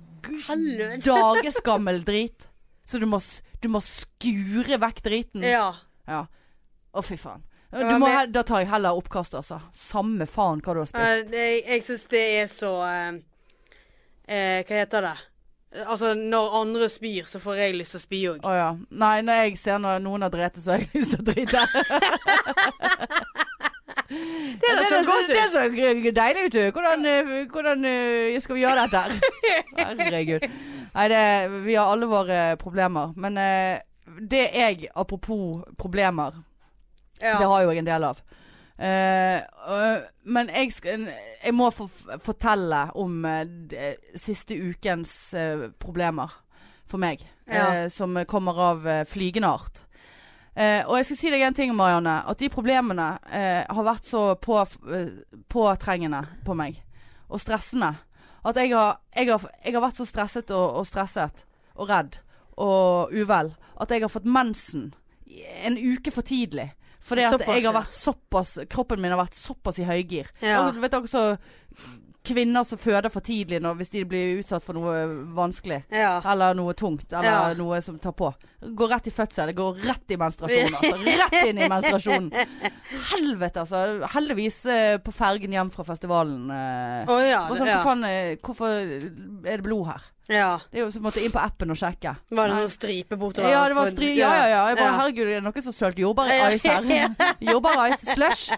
Helvete. Dageskammel drit. Så du må, s- du må skure vekk driten. Ja. Ja. Å, fy faen. Du Ja, må, men- he- da tar jeg heller oppkast, altså. Samme faen hva du har spist. Eh, det- Jeg, jeg syns det er så eh, eh, Hva heter det? Altså, når andre spyr, så får jeg lyst til å spy òg. Å ja. Nei, når jeg ser når noen har drept, så har jeg lyst til å drite. det da så godt ut. Det ser g- deilig ut, du. Hvordan, eh, hvordan eh, skal vi gjøre dette her? Herregud. Nei, det, vi har alle våre problemer. Men eh, det jeg, apropos problemer, det Ja. har jo jeg en del av. Eh, øh, men jeg, skal, jeg må få fortelle om eh, d- siste ukens eh, problemer for meg. Ja. eh, som kommer av eh, flygende art. Eh, og jeg skal si deg en ting, Marianne. At de problemene eh, har vært så på, eh, påtrengende på meg. Og stressende. At jeg har, jeg har, jeg har vært så stresset og, og stresset og redd og uvel at jeg har fått mensen en uke for tidlig. Fordi at Såpass, jeg ja. har vært såpass Kroppen min har vært såpass i høygir. Ja. Og Vet dere så Kvinner som føder for tidlig når, hvis de blir utsatt for noe vanskelig. ja. Eller noe tungt, eller Ja. noe som tar på. Går rett i fødsel. Det går rett i menstruasjonen. Altså. Rett inn i menstruasjonen. Helvete, altså. Heldigvis eh, på fergen hjem fra festivalen. Eh. Å ja. Og det- sånn, ja. for faen, eh, hvorfor er det blod her? ja. Det er jo som å måtte inn på appen og sjekke. Var det noen striper bortover? Ja, det var på- stri... Ja, ja, ja. Jeg bare, Ja. herregud, det er noen som sølte jordbærice her. Jordbærice slush.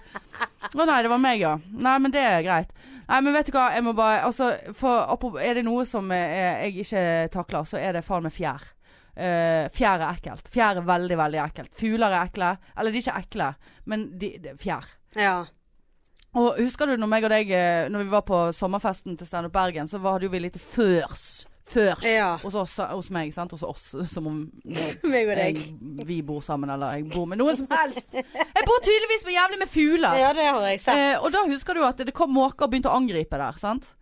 Å nei, det var meg, ja. Nei, men det er greit. Nei, men vet du hva, jeg må bare Altså, for, apropos- er det noe som eh, jeg ikke takler, så er det faen meg fjær. Eh, fjær er ekkelt. Fjær er veldig, veldig ekkelt. Fugler er ekle. Eller de er ikke ekle, men de, de fjær. ja. Og husker du når meg og deg eh, Når vi var på sommerfesten til Stand Up Bergen, så var- hadde jo vi litt førs. Førs. Ja. Hos, oss, hos meg, sant. Hos oss. Som om Meg og deg. jeg, Eh, vi bor sammen, eller jeg bor med noen som helst. Jeg bor tydeligvis med jævlig med fugler. Ja, det har jeg sett. Eh, og da husker du at det kom måker og begynte å angripe der, sant?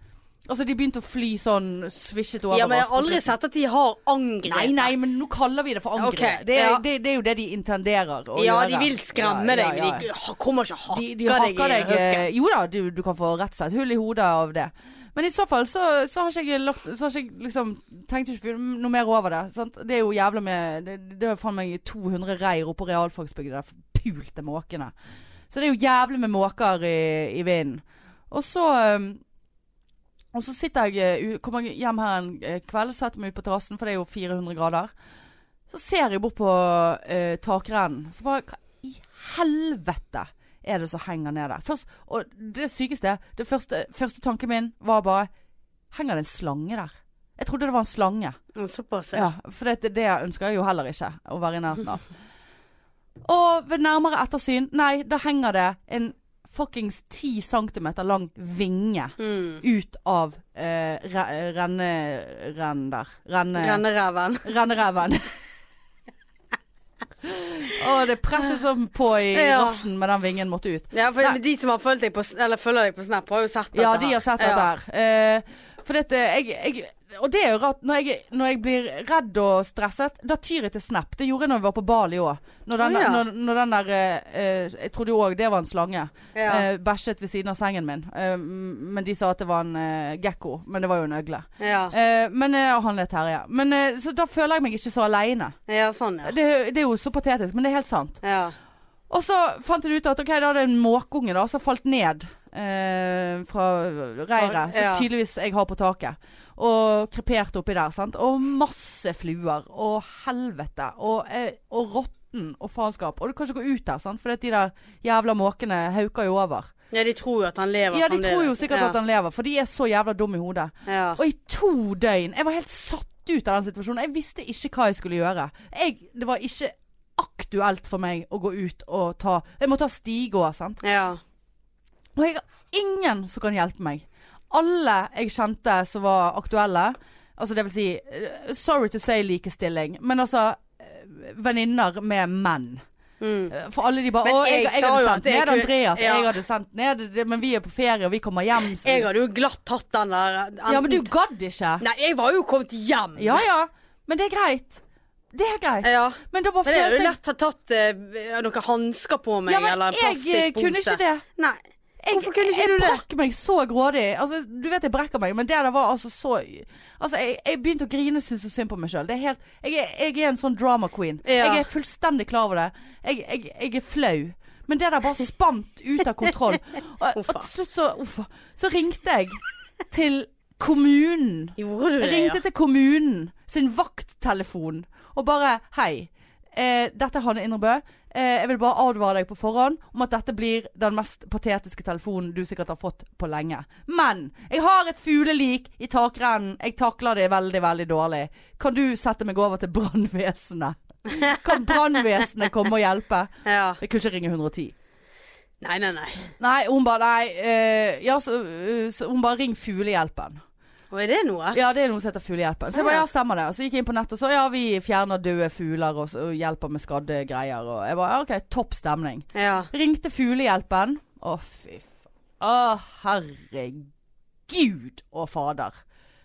Altså de begynte å fly sånn svisjet over Ja, men jeg oss på har aldri slutten. sett at de har angrepet. Nei, nei, men nå kaller vi det for angrep. Ok, det, er, ja. det, det er jo det de intenderer å Ja, gjøre. de vil skremme Ja, ja, deg, ja. men de ha- kommer ikke og De, hakker, de hakker i deg eh, høkken. Jo da, du, du kan få rett og slett hull i hodet av det. Men i så fall så, så har ikke jeg lagt Så har ikke jeg liksom Tenkte ikke noe mer over det. Sant? Det er jo jævla med Det, det er faen meg 200 reir oppå realfagsbygget der pulte måkene. Så det er jo jævlig med måker i, i vinden. Og så eh, og så sitter jeg, eh, u- kommer jeg hjem her en eh, kveld og setter meg ut på terrassen, for det er jo 400 grader. Så ser jeg bort på eh, takrennen. Så bare Hva i helvete er det som henger ned der? Først, og det sykeste er Det første, første tanken min var bare Henger det en slange der? Jeg trodde det var en slange. Mm, Såpass, ja. Ja, for det, det ønsker jeg jo heller ikke å være i nærheten av. Og ved nærmere ettersyn, nei, da henger det en fuckings 10 cm lang vinge Mm. ut av eh, re renne... Renn der. Renne... Rennereven. Rennereven. Å, det presset sånn på i Ja. rassen med den vingen måtte ut. Ja, for Nei. de som har fulgt deg på, eller følger deg på Snap, har jo sett dette. Ja, her. de har sett Ja. dette her. Eh, for dette jeg, jeg, Og det er jo rart. Når jeg, når jeg blir redd og stresset, da tyr jeg til snap. Det gjorde jeg når jeg var på Bali òg. Når, Å, den ja. der- når, når den der eh, eh, Jeg trodde jo òg det var en slange. Ja. Eh, bæsjet ved siden av sengen min. Eh, m- men de sa at det var en eh, gekko. Men det var jo en øgle. Ja. Eh, men eh, han er Terje. Men, eh, så da føler jeg meg ikke så aleine. ja, sånn, ja. Det, det er jo så patetisk, men det er helt sant. Ja. Og så fant jeg ut at ok, da er det en måkeunge da, som falt ned eh, fra reiret. Ja. Så tydeligvis jeg har på taket. Og kreperte oppi der. sant? Og masse fluer. Og helvete. Og, eh, og råtten og faenskap. Og du kan ikke gå ut der, sant? for de der jævla måkene hauker jo over. ja, de tror jo at han lever Ja, de tror jo sikkert at han lever, for de er så jævla dumme i hodet. ja. Og i to døgn. Jeg var helt satt ut av den situasjonen. Jeg visste ikke hva jeg skulle gjøre. Jeg, det var ikke aktuelt for meg å gå ut og ta Jeg må ta stigåer, sant. Ja. Og jeg har ingen som kan hjelpe meg. Alle jeg kjente som var aktuelle, altså det vil si eh, Sorry to say likestilling, men altså eh, Venninner med menn. Eh, Mm. For alle de bare Men 'Å, jeg, jeg jeg, sa jo hadde at sendt jeg ned kunne- Andreas', Ja. jeg hadde sendt ned det- Men vi er på ferie, og vi kommer hjem, så Jeg hadde jo glatt tatt den der. eh, enten- Ja, men du gadd ikke. Nei, jeg var jo kommet hjem. Ja ja, men det er greit. Det er helt greit. Ja. Eh, Men da bare Men jeg hadde følte jo jeg lett ha tatt eh, noen hansker på meg, Ja, men eller en jeg eh, plastikkpose. kunne ikke det. Nei. Jeg, Hvorfor kunne ikke jeg du det? brakk meg så grådig. Altså, du vet jeg brekker meg, men det der var altså så Altså, jeg, jeg begynte å grine synes så synd på meg sjøl. Jeg, er- jeg er en sånn drama queen. Ja. Jeg er fullstendig klar over det. Jeg, jeg, jeg er flau. Men det der bare spant ut av kontroll. Og, og Uffa. til slutt så Uffa. Så ringte jeg til kommunen. Gjorde du det, Jeg ringte til kommunen sin vakttelefon og bare Hei, eh, dette er Hanne Indrebø. Eh, jeg vil bare advare deg på forhånd om at dette blir den mest patetiske telefonen du sikkert har fått på lenge. Men jeg har et fuglelik i takrennen. Jeg takler det veldig, veldig dårlig. Kan du sette meg over til brannvesenet? Kan brannvesenet komme og hjelpe? ja. ja. Jeg kunne ikke ringe 110. Nei, nei, nei. Nei, hun bare Nei, eh, ja, så, eh, så hun bare ring fuglehjelpen. Og er det noe? Ja, det er noe som heter fuglehjelpen. Så jeg bare, ja, stemmer det. Og så gikk jeg inn på nettet og så ja, vi fjerner døde fugler og, så- og hjelper med skadde greier. Og jeg bare, ja, ok, topp stemning. Ja. Ringte fuglehjelpen. Å, fy faen. Å, herregud og fader.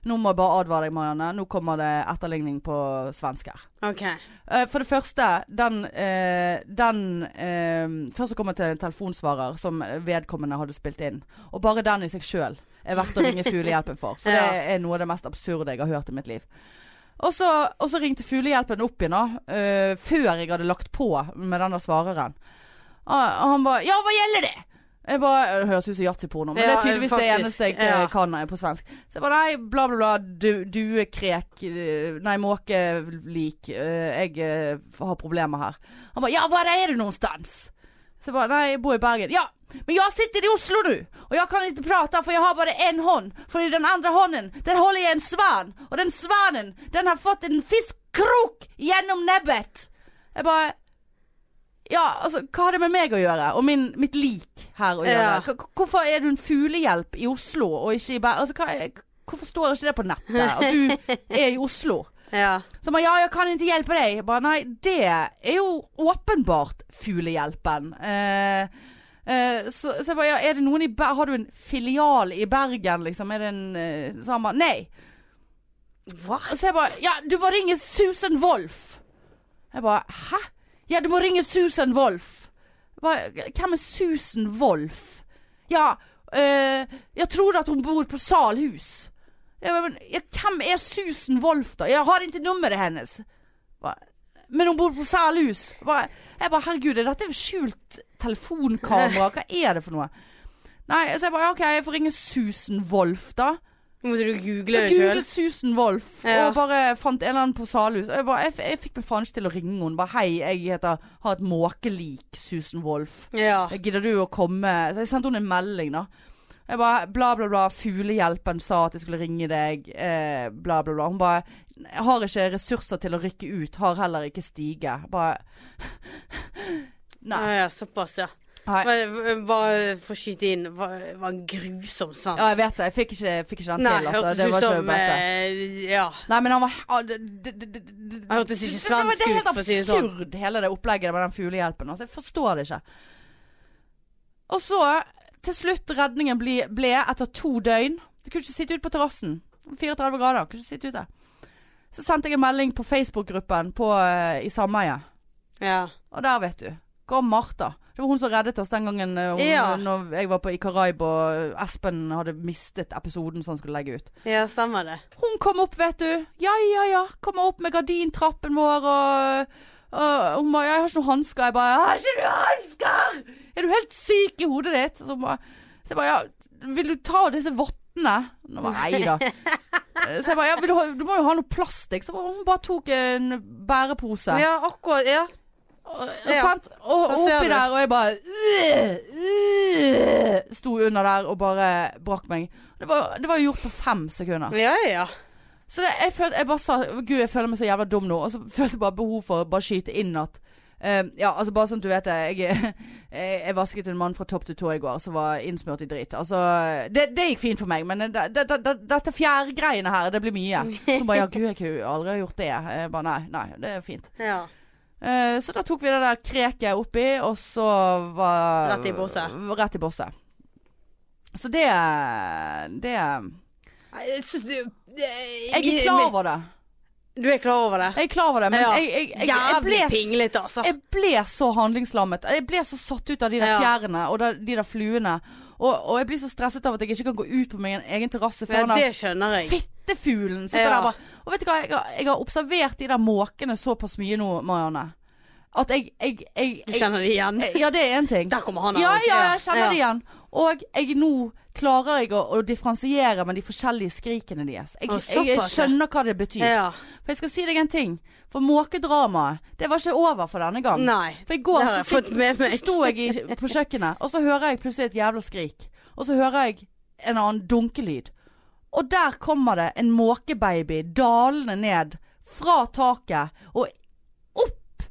Nå må jeg bare advare deg, Marianne. Nå kommer det etterligning på svensk her. OK. Eh, For det første, den, eh, den eh, Først så kom jeg til en telefonsvarer som vedkommende hadde spilt inn. Og bare den i seg sjøl er verdt å ringe Fuglehjelpen for. For det Ja. er noe av det mest absurde jeg har hørt i mitt liv. Og så, og så ringte Fuglehjelpen opp igjen, da. eh, før jeg hadde lagt på med denne svareren. Og Ah, og han bare 'Ja, hva gjelder det?' Jeg bare, Det høres ut som yatzyporno, men det Ja, er tydeligvis det faktisk, eneste jeg ja. eh, kan eh, på svensk. Så jeg bare nei, bla bla bla, du, duekrek, eh, nei måkelik, eh, jeg eh, har problemer her. Han bare, ja, hvor er du någonstans? Så jeg bare, nei, jeg bor i Bergen. Ja, men jeg sitter i Oslo nu, og jeg kan ikke prate, for jeg har bare en hånd. For i den andre hånden, der holder jeg en svan, og den svanen, den har fått en fiskkrok gjennom nebbet. Jeg bare, ja, altså, hva har det med meg å gjøre? Og min, mitt lik her å gjøre? Ja. H- h- Hvorfor er du en fuglehjelp i Oslo og ikke i Bergen? Altså, hva, er- hvorfor står ikke det på nettet at du er i Oslo? Ja. Så han ba, ja, jeg kan ikke hjelpe deg. Jeg ba, nei, det er jo åpenbart fuglehjelpen. Eh, eh, så, så jeg ba, ja, er det noen i Bergen? Har du en filial i Bergen, liksom? Er det en eh, Så han ba, nei. What? Så jeg ba, ja, du må ringe Susan Wolf. Jeg ba, hæ? Ja, du må ringe Susan Wolf. Jeg ba, Hvem er Susan Wolf? Ja, eh, jeg tror at hun bor på Salhus. Jeg ba, men, ja, hvem er Susan Wolf da? Jeg har ikke nummeret hennes. Jeg ba, Men hun bor på Salhus. Jeg ba, jeg ba, herregud, er dette skjult telefonkamera? Hva er det for noe? Nei, så jeg ba, ja, ok, jeg får ringe Susan Wolf da. Måtte du google det Jeg sjøl? googlet Susan Wolf Ja. og bare fant en eller annen på Salhus. Og Jeg, bare, jeg, f- jeg fikk meg faen ikke til å ringe henne. Bare hei, jeg heter, har et måkelik Susan Wolf. Ja. Gidder du å komme? Så jeg sendte henne en melding, da. Jeg bare bla, bla, bla. Fuglehjelpen sa at jeg skulle ringe deg. Eh, bla, bla, bla. Hun bare jeg har ikke ressurser til å rykke ut. Har heller ikke stige. Bare Nei. Ja, ja, såpass, ja. Nei. Bare, bare for å skyte inn, var, var en grusom svans. Ja, jeg vet det. Jeg fikk ikke, fikk ikke den Nei, til. Altså. hørtes Det ut var ikke det som beste. eh, Ja. Nei, men han var ah, det- det- det- det- det- Han hørtes ikke det- svensk Det var ut, helt for å si det sånn. absurd, hele det opplegget med den fuglehjelpen. Altså, jeg forstår det ikke. Og så, til slutt, redningen ble, ble etter to døgn Du kunne ikke sitte ute på terrassen. 34 grader, kunne ikke sitte ute. Så sendte jeg en melding på Facebook-gruppen på, eh, i sameiet. ja. Og der, vet du, kom Martha. Det var hun som reddet oss den gangen eh, hun, Ja. når jeg var på i Karaib og Espen hadde mistet episoden som han skulle legge ut. Ja, stemmer det. Hun kom opp, vet du. Ja, ja, ja. Kommer opp med gardintrappen vår og og hun bare 'Jeg har ikke noen hansker.' Jeg bare 'Har ikke du hansker?!' 'Er du helt syk i hodet ditt?' Så, hun bare, så jeg bare 'Ja, vil du ta disse vottene?' Hun bare 'Nei da'. Så jeg bare 'Ja, vil du, ha, du må jo ha noe plastikk'. Så hun bare tok en bærepose. Ja, akkurat. Ja. Og, Ja. sant? og Da og ser oppi du. der, og jeg bare øh, øh, Sto under der og bare brakk meg. Det var, det var jo gjort på fem sekunder. Ja, ja. Så det, jeg følte Jeg bare sa Gud, jeg føler meg så jævla dum nå. Og så følte jeg bare behov for å bare skyte inn at eh, ja, altså bare sånn at du vet det. Jeg, jeg, jeg vasket en mann fra topp til tå i går som var innsmurt i drit. Altså, det, det gikk fint for meg, men det, det, det, dette fjærgreiene her, det blir mye. Så bare ja, gud, jeg kunne jo aldri ha gjort det. Jeg bare nei, nei, det er fint. ja. Eh, så da tok vi det der kreket oppi, og så var Rett i bosset. Rett i bosset. Så det Det Nei, Jeg syns du Jeg Jeg er klar over det. Du er klar over det? Jeg er klar over det, men Ja. jeg, jeg, jeg, jeg, Jævlig ble, pinglete, altså. jeg ble så handlingslammet. Jeg ble så satt ut av de der Ja. fjærene og da- de der fluene. Og, og jeg blir så stresset av at jeg ikke kan gå ut på min egen terrasse Ja, før den der det skjønner jeg. fittefuglen sitter Ja. der bare Og vet du hva, jeg har, jeg har observert de der måkene såpass mye nå, Marianne, at jeg, jeg, jeg, Du jeg, kjenner det igjen? Ja, det er én ting. Der kommer han Ja, Alex. ja, jeg kjenner det igjen. Og jeg nå klarer jeg å, å differensiere med de forskjellige skrikene deres. Jeg, Å, jeg, jeg såpass, ja. skjønner hva det betyr. Ja. For jeg skal si deg en ting. For måkedramaet, det var ikke over for denne gang. Nei. For i går Det har så, jeg sitt- fått med så meg. sto jeg i, på kjøkkenet, og så hører jeg plutselig et jævla skrik. Og så hører jeg en annen dunkelyd. Og der kommer det en måkebaby dalende ned fra taket og opp,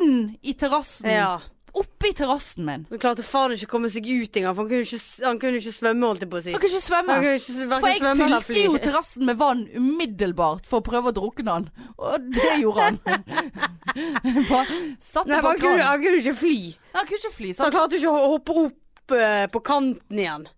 inn i terrassen. Ja. Oppi terrassen min. Så klarte faen ikke å komme seg ut engang, for han kunne jo ikke, s- han kunne jo ikke svømme, holdt jeg på å si. Jeg kan ikke svømme. Han kunne jo ikke For hverken jeg svømme eller fylte fly. jo terrassen med vann umiddelbart for å prøve å drukne han. Og det gjorde han. Bare satt Nei, det men på han kunne, kranen. han kunne ikke fly. Han kunne ikke fly. Så han Sant? klarte ikke å hoppe opp eh, på kanten igjen.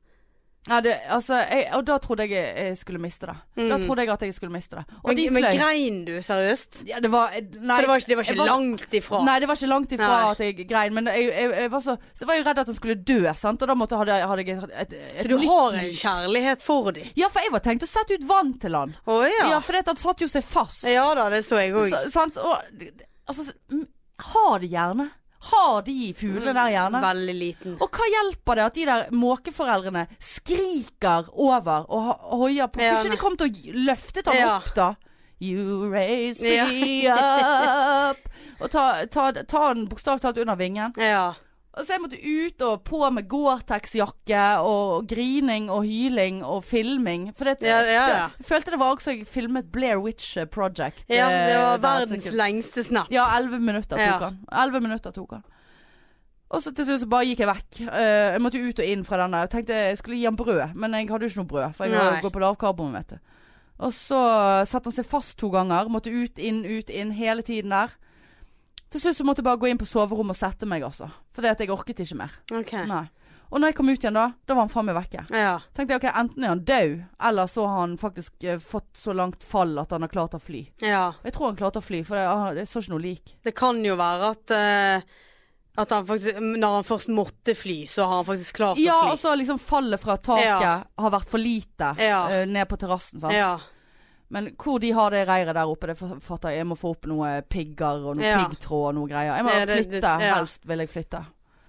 Nei, det, altså, jeg, og da trodde jeg jeg skulle miste det. Da trodde jeg at jeg skulle miste det. Og Mm. Men, de men fløy. grein du, seriøst? Ja, det var, nei, For det var ikke, det var jeg ikke langt ifra. Nei, det var ikke langt ifra Nei. at jeg grein, men jeg, jeg, jeg var så, så var jeg redd at han skulle dø, sant? og da måtte, hadde, jeg- hadde jeg et, et, et Så du nytt har liv. en kjærlighet for dem? Ja, for jeg var tenkt å sette ut vann til han. Å Ja, ja. for det, at han satt jo seg fast. Ja da, det så jeg òg. Så, sant? Og, altså, s- m- har de hjerne? Har de fuglene der hjerne? Veldig liten. Og hva hjelper det at de der måkeforeldrene skriker over og ho- og hoier på? Ja, Kunne ikke de kom til å gi- løftet ham Ja. opp, da? You raise me up. Og ta, ta, ta den bokstavelig talt under vingen. Ja. Og så jeg måtte ut og på med Gore-Tex-jakke og grining og hyling og filming. For det, Ja, ja, ja. jeg følte det var også jeg filmet Blair Witch Project. ja det eh, var der, verdens sikkert. lengste snap. Ja, elleve minutter tok Ja. han. 11 minutter tok han. Og så til slutt så bare gikk jeg vekk. Eh, jeg måtte ut og inn fra den der. Jeg tenkte jeg skulle gi han brød, men jeg hadde jo ikke noe brød. For jeg Nei. har jo gått på lavkarbo, vet du. Og så satte han seg fast to ganger. Måtte ut, inn, ut, inn hele tiden der. Til slutt så måtte jeg bare gå inn på soverommet og sette meg, altså. Fordi at jeg orket ikke mer. Ok. Nei. Og når jeg kom ut igjen da, da var han faen meg vekke. Ja. Tenkte jeg ok, enten er han død, eller så har han faktisk eh, fått så langt fall at han har klart å fly. ja. Jeg tror han klarte å fly, for det, ah, det så ikke noe lik. Det kan jo være at eh, at han faktisk, når han først måtte fly, så har han faktisk klart Ja, å og fly. så liksom fallet fra taket Ja. har vært for lite Ja. eh, ned på terrassen. sant? Ja, Men hvor de har det reiret der oppe, det f- fatter jeg. Jeg må få opp noe pigger og noe Ja. piggtråd og noe greier. Jeg må Ja, det- flytte. det- ja. Helst vil jeg flytte.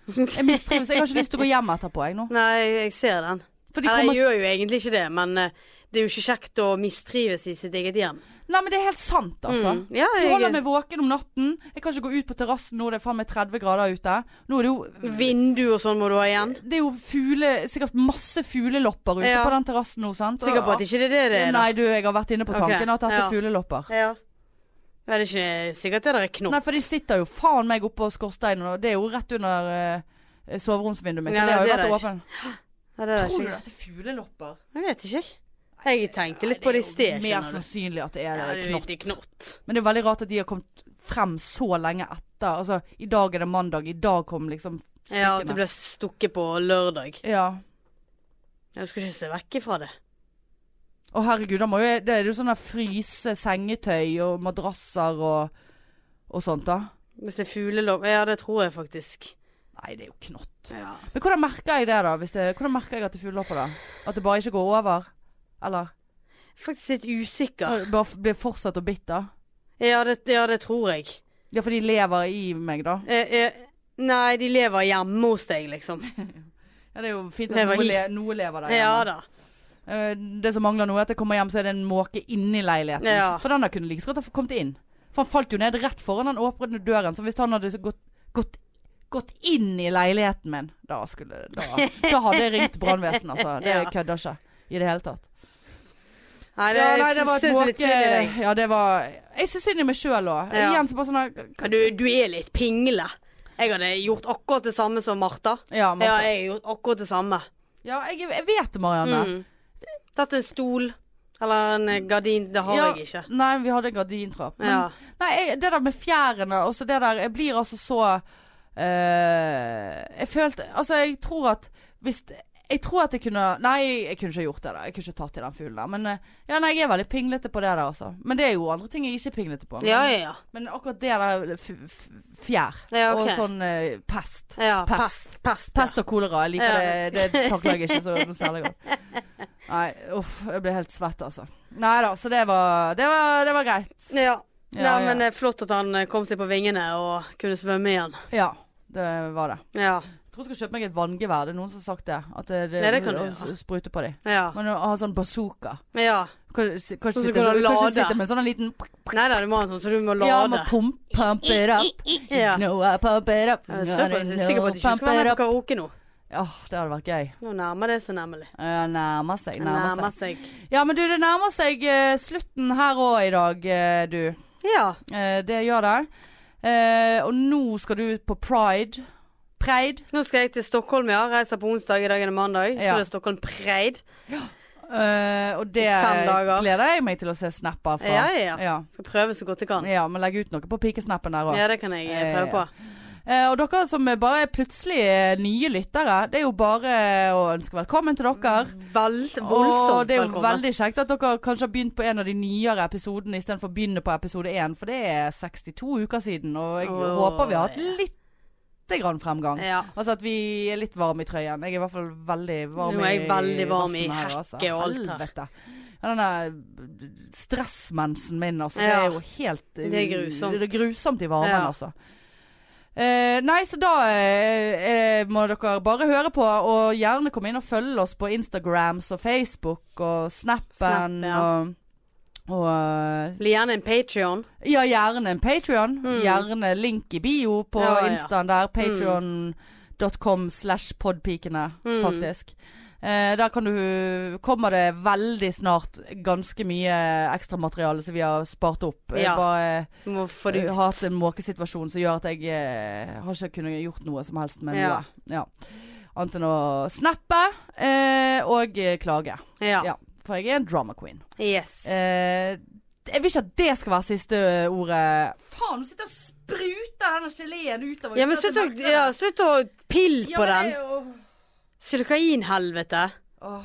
Jeg mistrives. Jeg har ikke lyst til å gå hjem etterpå, jeg nå. Nei, jeg ser den. For de Eller, kommer Jeg gjør jo egentlig ikke det, men eh, det er jo ikke kjekt å mistrives i sitt eget hjem. Nei, men det er helt sant, altså. Mm. Ja, Du jeg- holder meg våken om natten. Jeg kan ikke gå ut på terrassen nå, det er faen meg 30 grader ute. Nå er det jo Vindu og sånn må du ha igjen. Det er jo fugle Sikkert masse fuglelopper ute Ja. på den terrassen nå, sant? Sikker på at ikke det er det det er? da? Nei, du, jeg har vært inne på Ok, tanken at dette ja. er fuglelopper. Ja. Ja, det er ikke sikkert det der er knott. Nei, for de sitter jo faen meg oppå skorsteinen, og det er jo rett under eh, eh, soveromsvinduet mitt. Ja, det nei, har jo det er vært det åpent. Nei, det er Tror du ikke at det er fuglelopper? Jeg vet ikke. Jeg tenkte litt Nei, på det i sted. er jo skjønner mer du. sannsynlig at det er Ja, det. det er jo knott. ikke sånn- knott. Men det er veldig rart at de har kommet frem så lenge etter. Altså, i dag er det mandag, i dag kom liksom Ja, at Stikkene. det ble stukket på lørdag. Ja. Jeg skal ikke se vekk ifra det. Å herregud, da må jo Det er jo sånn der fryse sengetøy og madrasser og, og sånt, da. Hvis det er fuglelov Ja, det tror jeg faktisk. Nei, det er jo knott. Ja. Men hvordan merker jeg det, da? Hvis det, hvordan merker jeg at det er fuglelopper, da? At det bare ikke går over? Eller? Faktisk litt usikker. Bare f- blir fortsatt å bitt, da? Ja, det, ja, det tror jeg. Ja, for de lever i meg, da. Eh, eh, nei, de lever hjemme hos deg, liksom. Ja, det er jo fint at Lever noe, i. le, noe lever der. Ja hjemme. da. Eh, Det som mangler nå, er at jeg kommer hjem, så er det en måke inni leiligheten. Ja. For den der kunne like så godt ha kommet inn. For han falt jo ned rett foran den åpne døren. Så hvis han hadde gått, gått, gått inn i leiligheten min, da skulle Da, da hadde jeg ringt brannvesenet, altså. Det Ja. kødder ikke i det hele tatt. Nei, det, Ja, ja, nei, det var syns et jeg er litt synd i deg. måke Ja, det var Jeg syns synd i meg sjøl òg. Ja. Igjen så bare sånn her- Ja, Du, du er litt pingle. Jeg hadde gjort akkurat det samme som Martha. Ja, Martha. Ja, jeg har gjort akkurat det samme. ja jeg, jeg vet det, Marianne. Mm. Tatt en stol eller en eh, gardin. Det har ja, jeg ikke. Nei, vi hadde en gardintrapp. Men, Ja. Nei, jeg, det der med fjærene og så det der Jeg blir altså så eh, Jeg følte Altså, jeg tror at hvis Jeg tror at jeg kunne Nei, jeg kunne ikke gjort det. da Jeg kunne ikke tatt i den fuglen der. Men eh, ja, nei, jeg er veldig pinglete på det der, altså. Men det er jo andre ting jeg ikke er pinglete på. Men, Ja, ja, ja. men akkurat det der f f fjær Ja, ok. og sånn eh, pest. ja Pest. pest. Pest. Pest og kolera. Jeg liker Ja. det. Det takler jeg ikke så noe særlig godt. Nei, uff. Jeg ble helt svett, altså. Nei da, så det var, det var, det var greit. Ja. ja. Ja, Nei, ja. men det er flott at han eh, kom seg på vingene og kunne svømme igjen. Ja, det var det. Ja. Jeg tror jeg skal kjøpe meg et vanngevær. Det er noen som har sagt det. At det, det, Ja, det kan du å gjøre. s- sprute på dem. Ja. Men å ha sånn bazooka. ja. Kan- s- Sånn Kanskje som sitte, kan så, lade. kanskje sitte med en sånn liten Nei da, du må ha en sånn som du må Ja, med lade. pump, pump it up. Ja. No, I pump it up. Jeg er sikker på- sikker på at de ikke Pump skal være it med up. på karaoke nå. Ja, det hadde vært gøy. Nå nærmer det seg nemlig. Ja, Nærmer seg, Det nærmer nærmer seg. seg. Ja, men du, det nærmer seg eh, slutten her òg i dag, eh, du. Ja. Eh, det gjør det. Eh, og nå skal du ut på pride. Pride. Nå skal jeg til Stockholm, ja. Reiser på onsdag. I dag er det mandag. Ja. Så det er Stockholm Preid. Eh, og det Fem dager. gleder jeg meg til å se snapper fra. Ja, ja, ja. ja. Skal prøve så godt jeg kan. Ja, men legg ut noe på pikesnappen der òg. Ja, det kan jeg eh, prøve på. Eh, og dere som er bare er plutselig eh, nye lyttere, det er jo bare å ønske velkommen til dere. Veld, og Mm. voldsomt det er jo velkommen. veldig kjekt at dere kanskje har begynt på en av de nyere episodene istedenfor å begynne på episode én, for det er 62 uker siden, og jeg Åh, håper vi har hatt ja. lite grann fremgang. Ja. Altså at vi er litt varme i trøyen. Jeg er i hvert fall veldig varm i Nå er jeg veldig varm i rassen her, altså. hekke og alt her. Helvete. Ja, denne stressmensen min, altså. Det Ja. er jo helt uh, Det er grusomt. Det er grusomt i varmen, Ja. altså. Eh, nei, så da eh, eh, må dere bare høre på, og gjerne komme inn og følge oss på Instagrams og Facebook og Snap, Snappen ja. og, og eh, Bli gjerne en Patrion. ja, gjerne en Patrion. Gjerne link i bio Mm. på Ja, Mm. ja. Instaen der. Patrion.com slash podpikene, Mm. faktisk. Eh, der kan du Kommer det veldig snart ganske mye ekstramateriale som vi har spart opp. Jeg Ja. bare Må få det har ut. hatt en måkesituasjon som gjør at jeg eh, har ikke kunnet gjort noe som helst med Ja. noe. Ja. Annet enn å snappe eh, og eh, klage. Ja. Ja. For jeg er en drama queen. Yes. Eh, jeg vil ikke at det skal være siste ordet. Faen, du sitter og spruter denne geleen utover. Ja, men slutt å, ja, slutt å pille på den. den. Sylokain-helvete. Åh.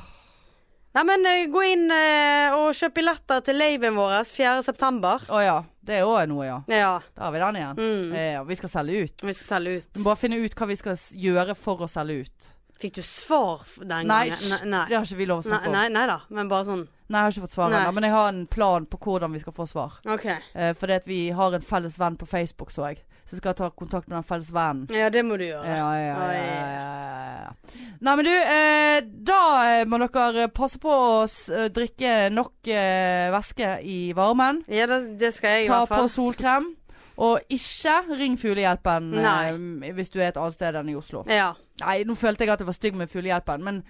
Nei, men eh, gå inn eh, og kjøp billetter til laven vår 4. september. Å ja. Det er òg noe, ja. Ja. Da har vi den igjen. Mm. Eh, ja, vi skal selge ut. Vi skal selge ut. Vi må Bare finne ut hva vi skal s- gjøre for å selge ut. Fikk du svar f- den Nei, gangen? hysj, nei. det har ikke vi lov å Nei, snakke om. Nei, nei, nei da, men bare sånn. jeg har ikke fått svar Nei. ennå, men jeg har en plan på hvordan vi skal få svar. OK. Eh, fordi at vi har en felles venn på Facebook, så jeg. Så jeg skal ta kontakt med den felles vennen. Ja, det må du gjøre. Ja, ja, ja, Oi. ja, ja. Nei, men du, eh, da eh, må dere passe på å s- eh, drikke nok eh, væske i varmen. Ja, det, det skal jeg i Ta hvert på fall. solkrem. Og ikke ring Fuglehjelpen eh, hvis du er et annet sted enn i Oslo. Ja. Nei, nå følte jeg at jeg var stygg med Fuglehjelpen, men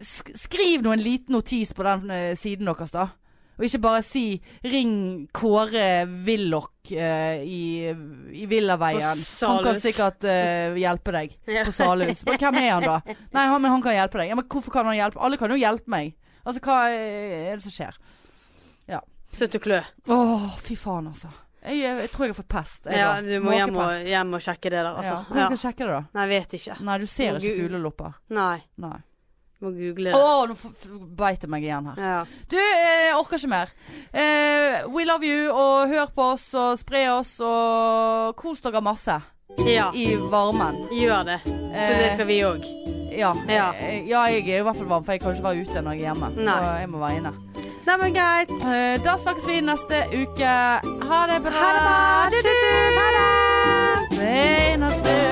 sk skriv nå en liten notis på den eh, siden deres, da. Og ikke bare si 'ring Kåre Willoch eh, i, i På Villaveien'. Han kan Salhus. sikkert eh, hjelpe deg Ja. på Salhus. Men hvem er han da? Nei, han, men han kan hjelpe deg. Ja, men hvorfor kan han hjelpe? Alle kan jo hjelpe meg. Altså, hva eh, er det som skjer? Slutt å klø. Å, fy faen, altså. Jeg, jeg, jeg tror jeg har fått pest. Jeg, Ja, da. du må hjem og, Måkepest. hjem og sjekke det der, ja. altså. Hvordan Ja. skal jeg sjekke det, da? Nei, jeg vet ikke. Nei, du ser Å, ikke Gud. fuglelopper. Nei. Nei. Må google Å, det. nå f- f- beit jeg meg igjen her. Ja. Du, eh, jeg orker ikke mer. Eh, we love you, og hør på oss, og spre oss, og kos dere masse ja. i varmen. Gjør det. For Eh. det skal vi òg. ja. Ja. Eh, ja, jeg er i hvert fall varm, for jeg kan ikke være ute når jeg er hjemme. Nei. Så jeg må være inne. Nei, men greit. Eh, da snakkes vi neste uke. Ha det bra. Ha det bra. Tut, tut, tut. Ha det. Hei, neste uke.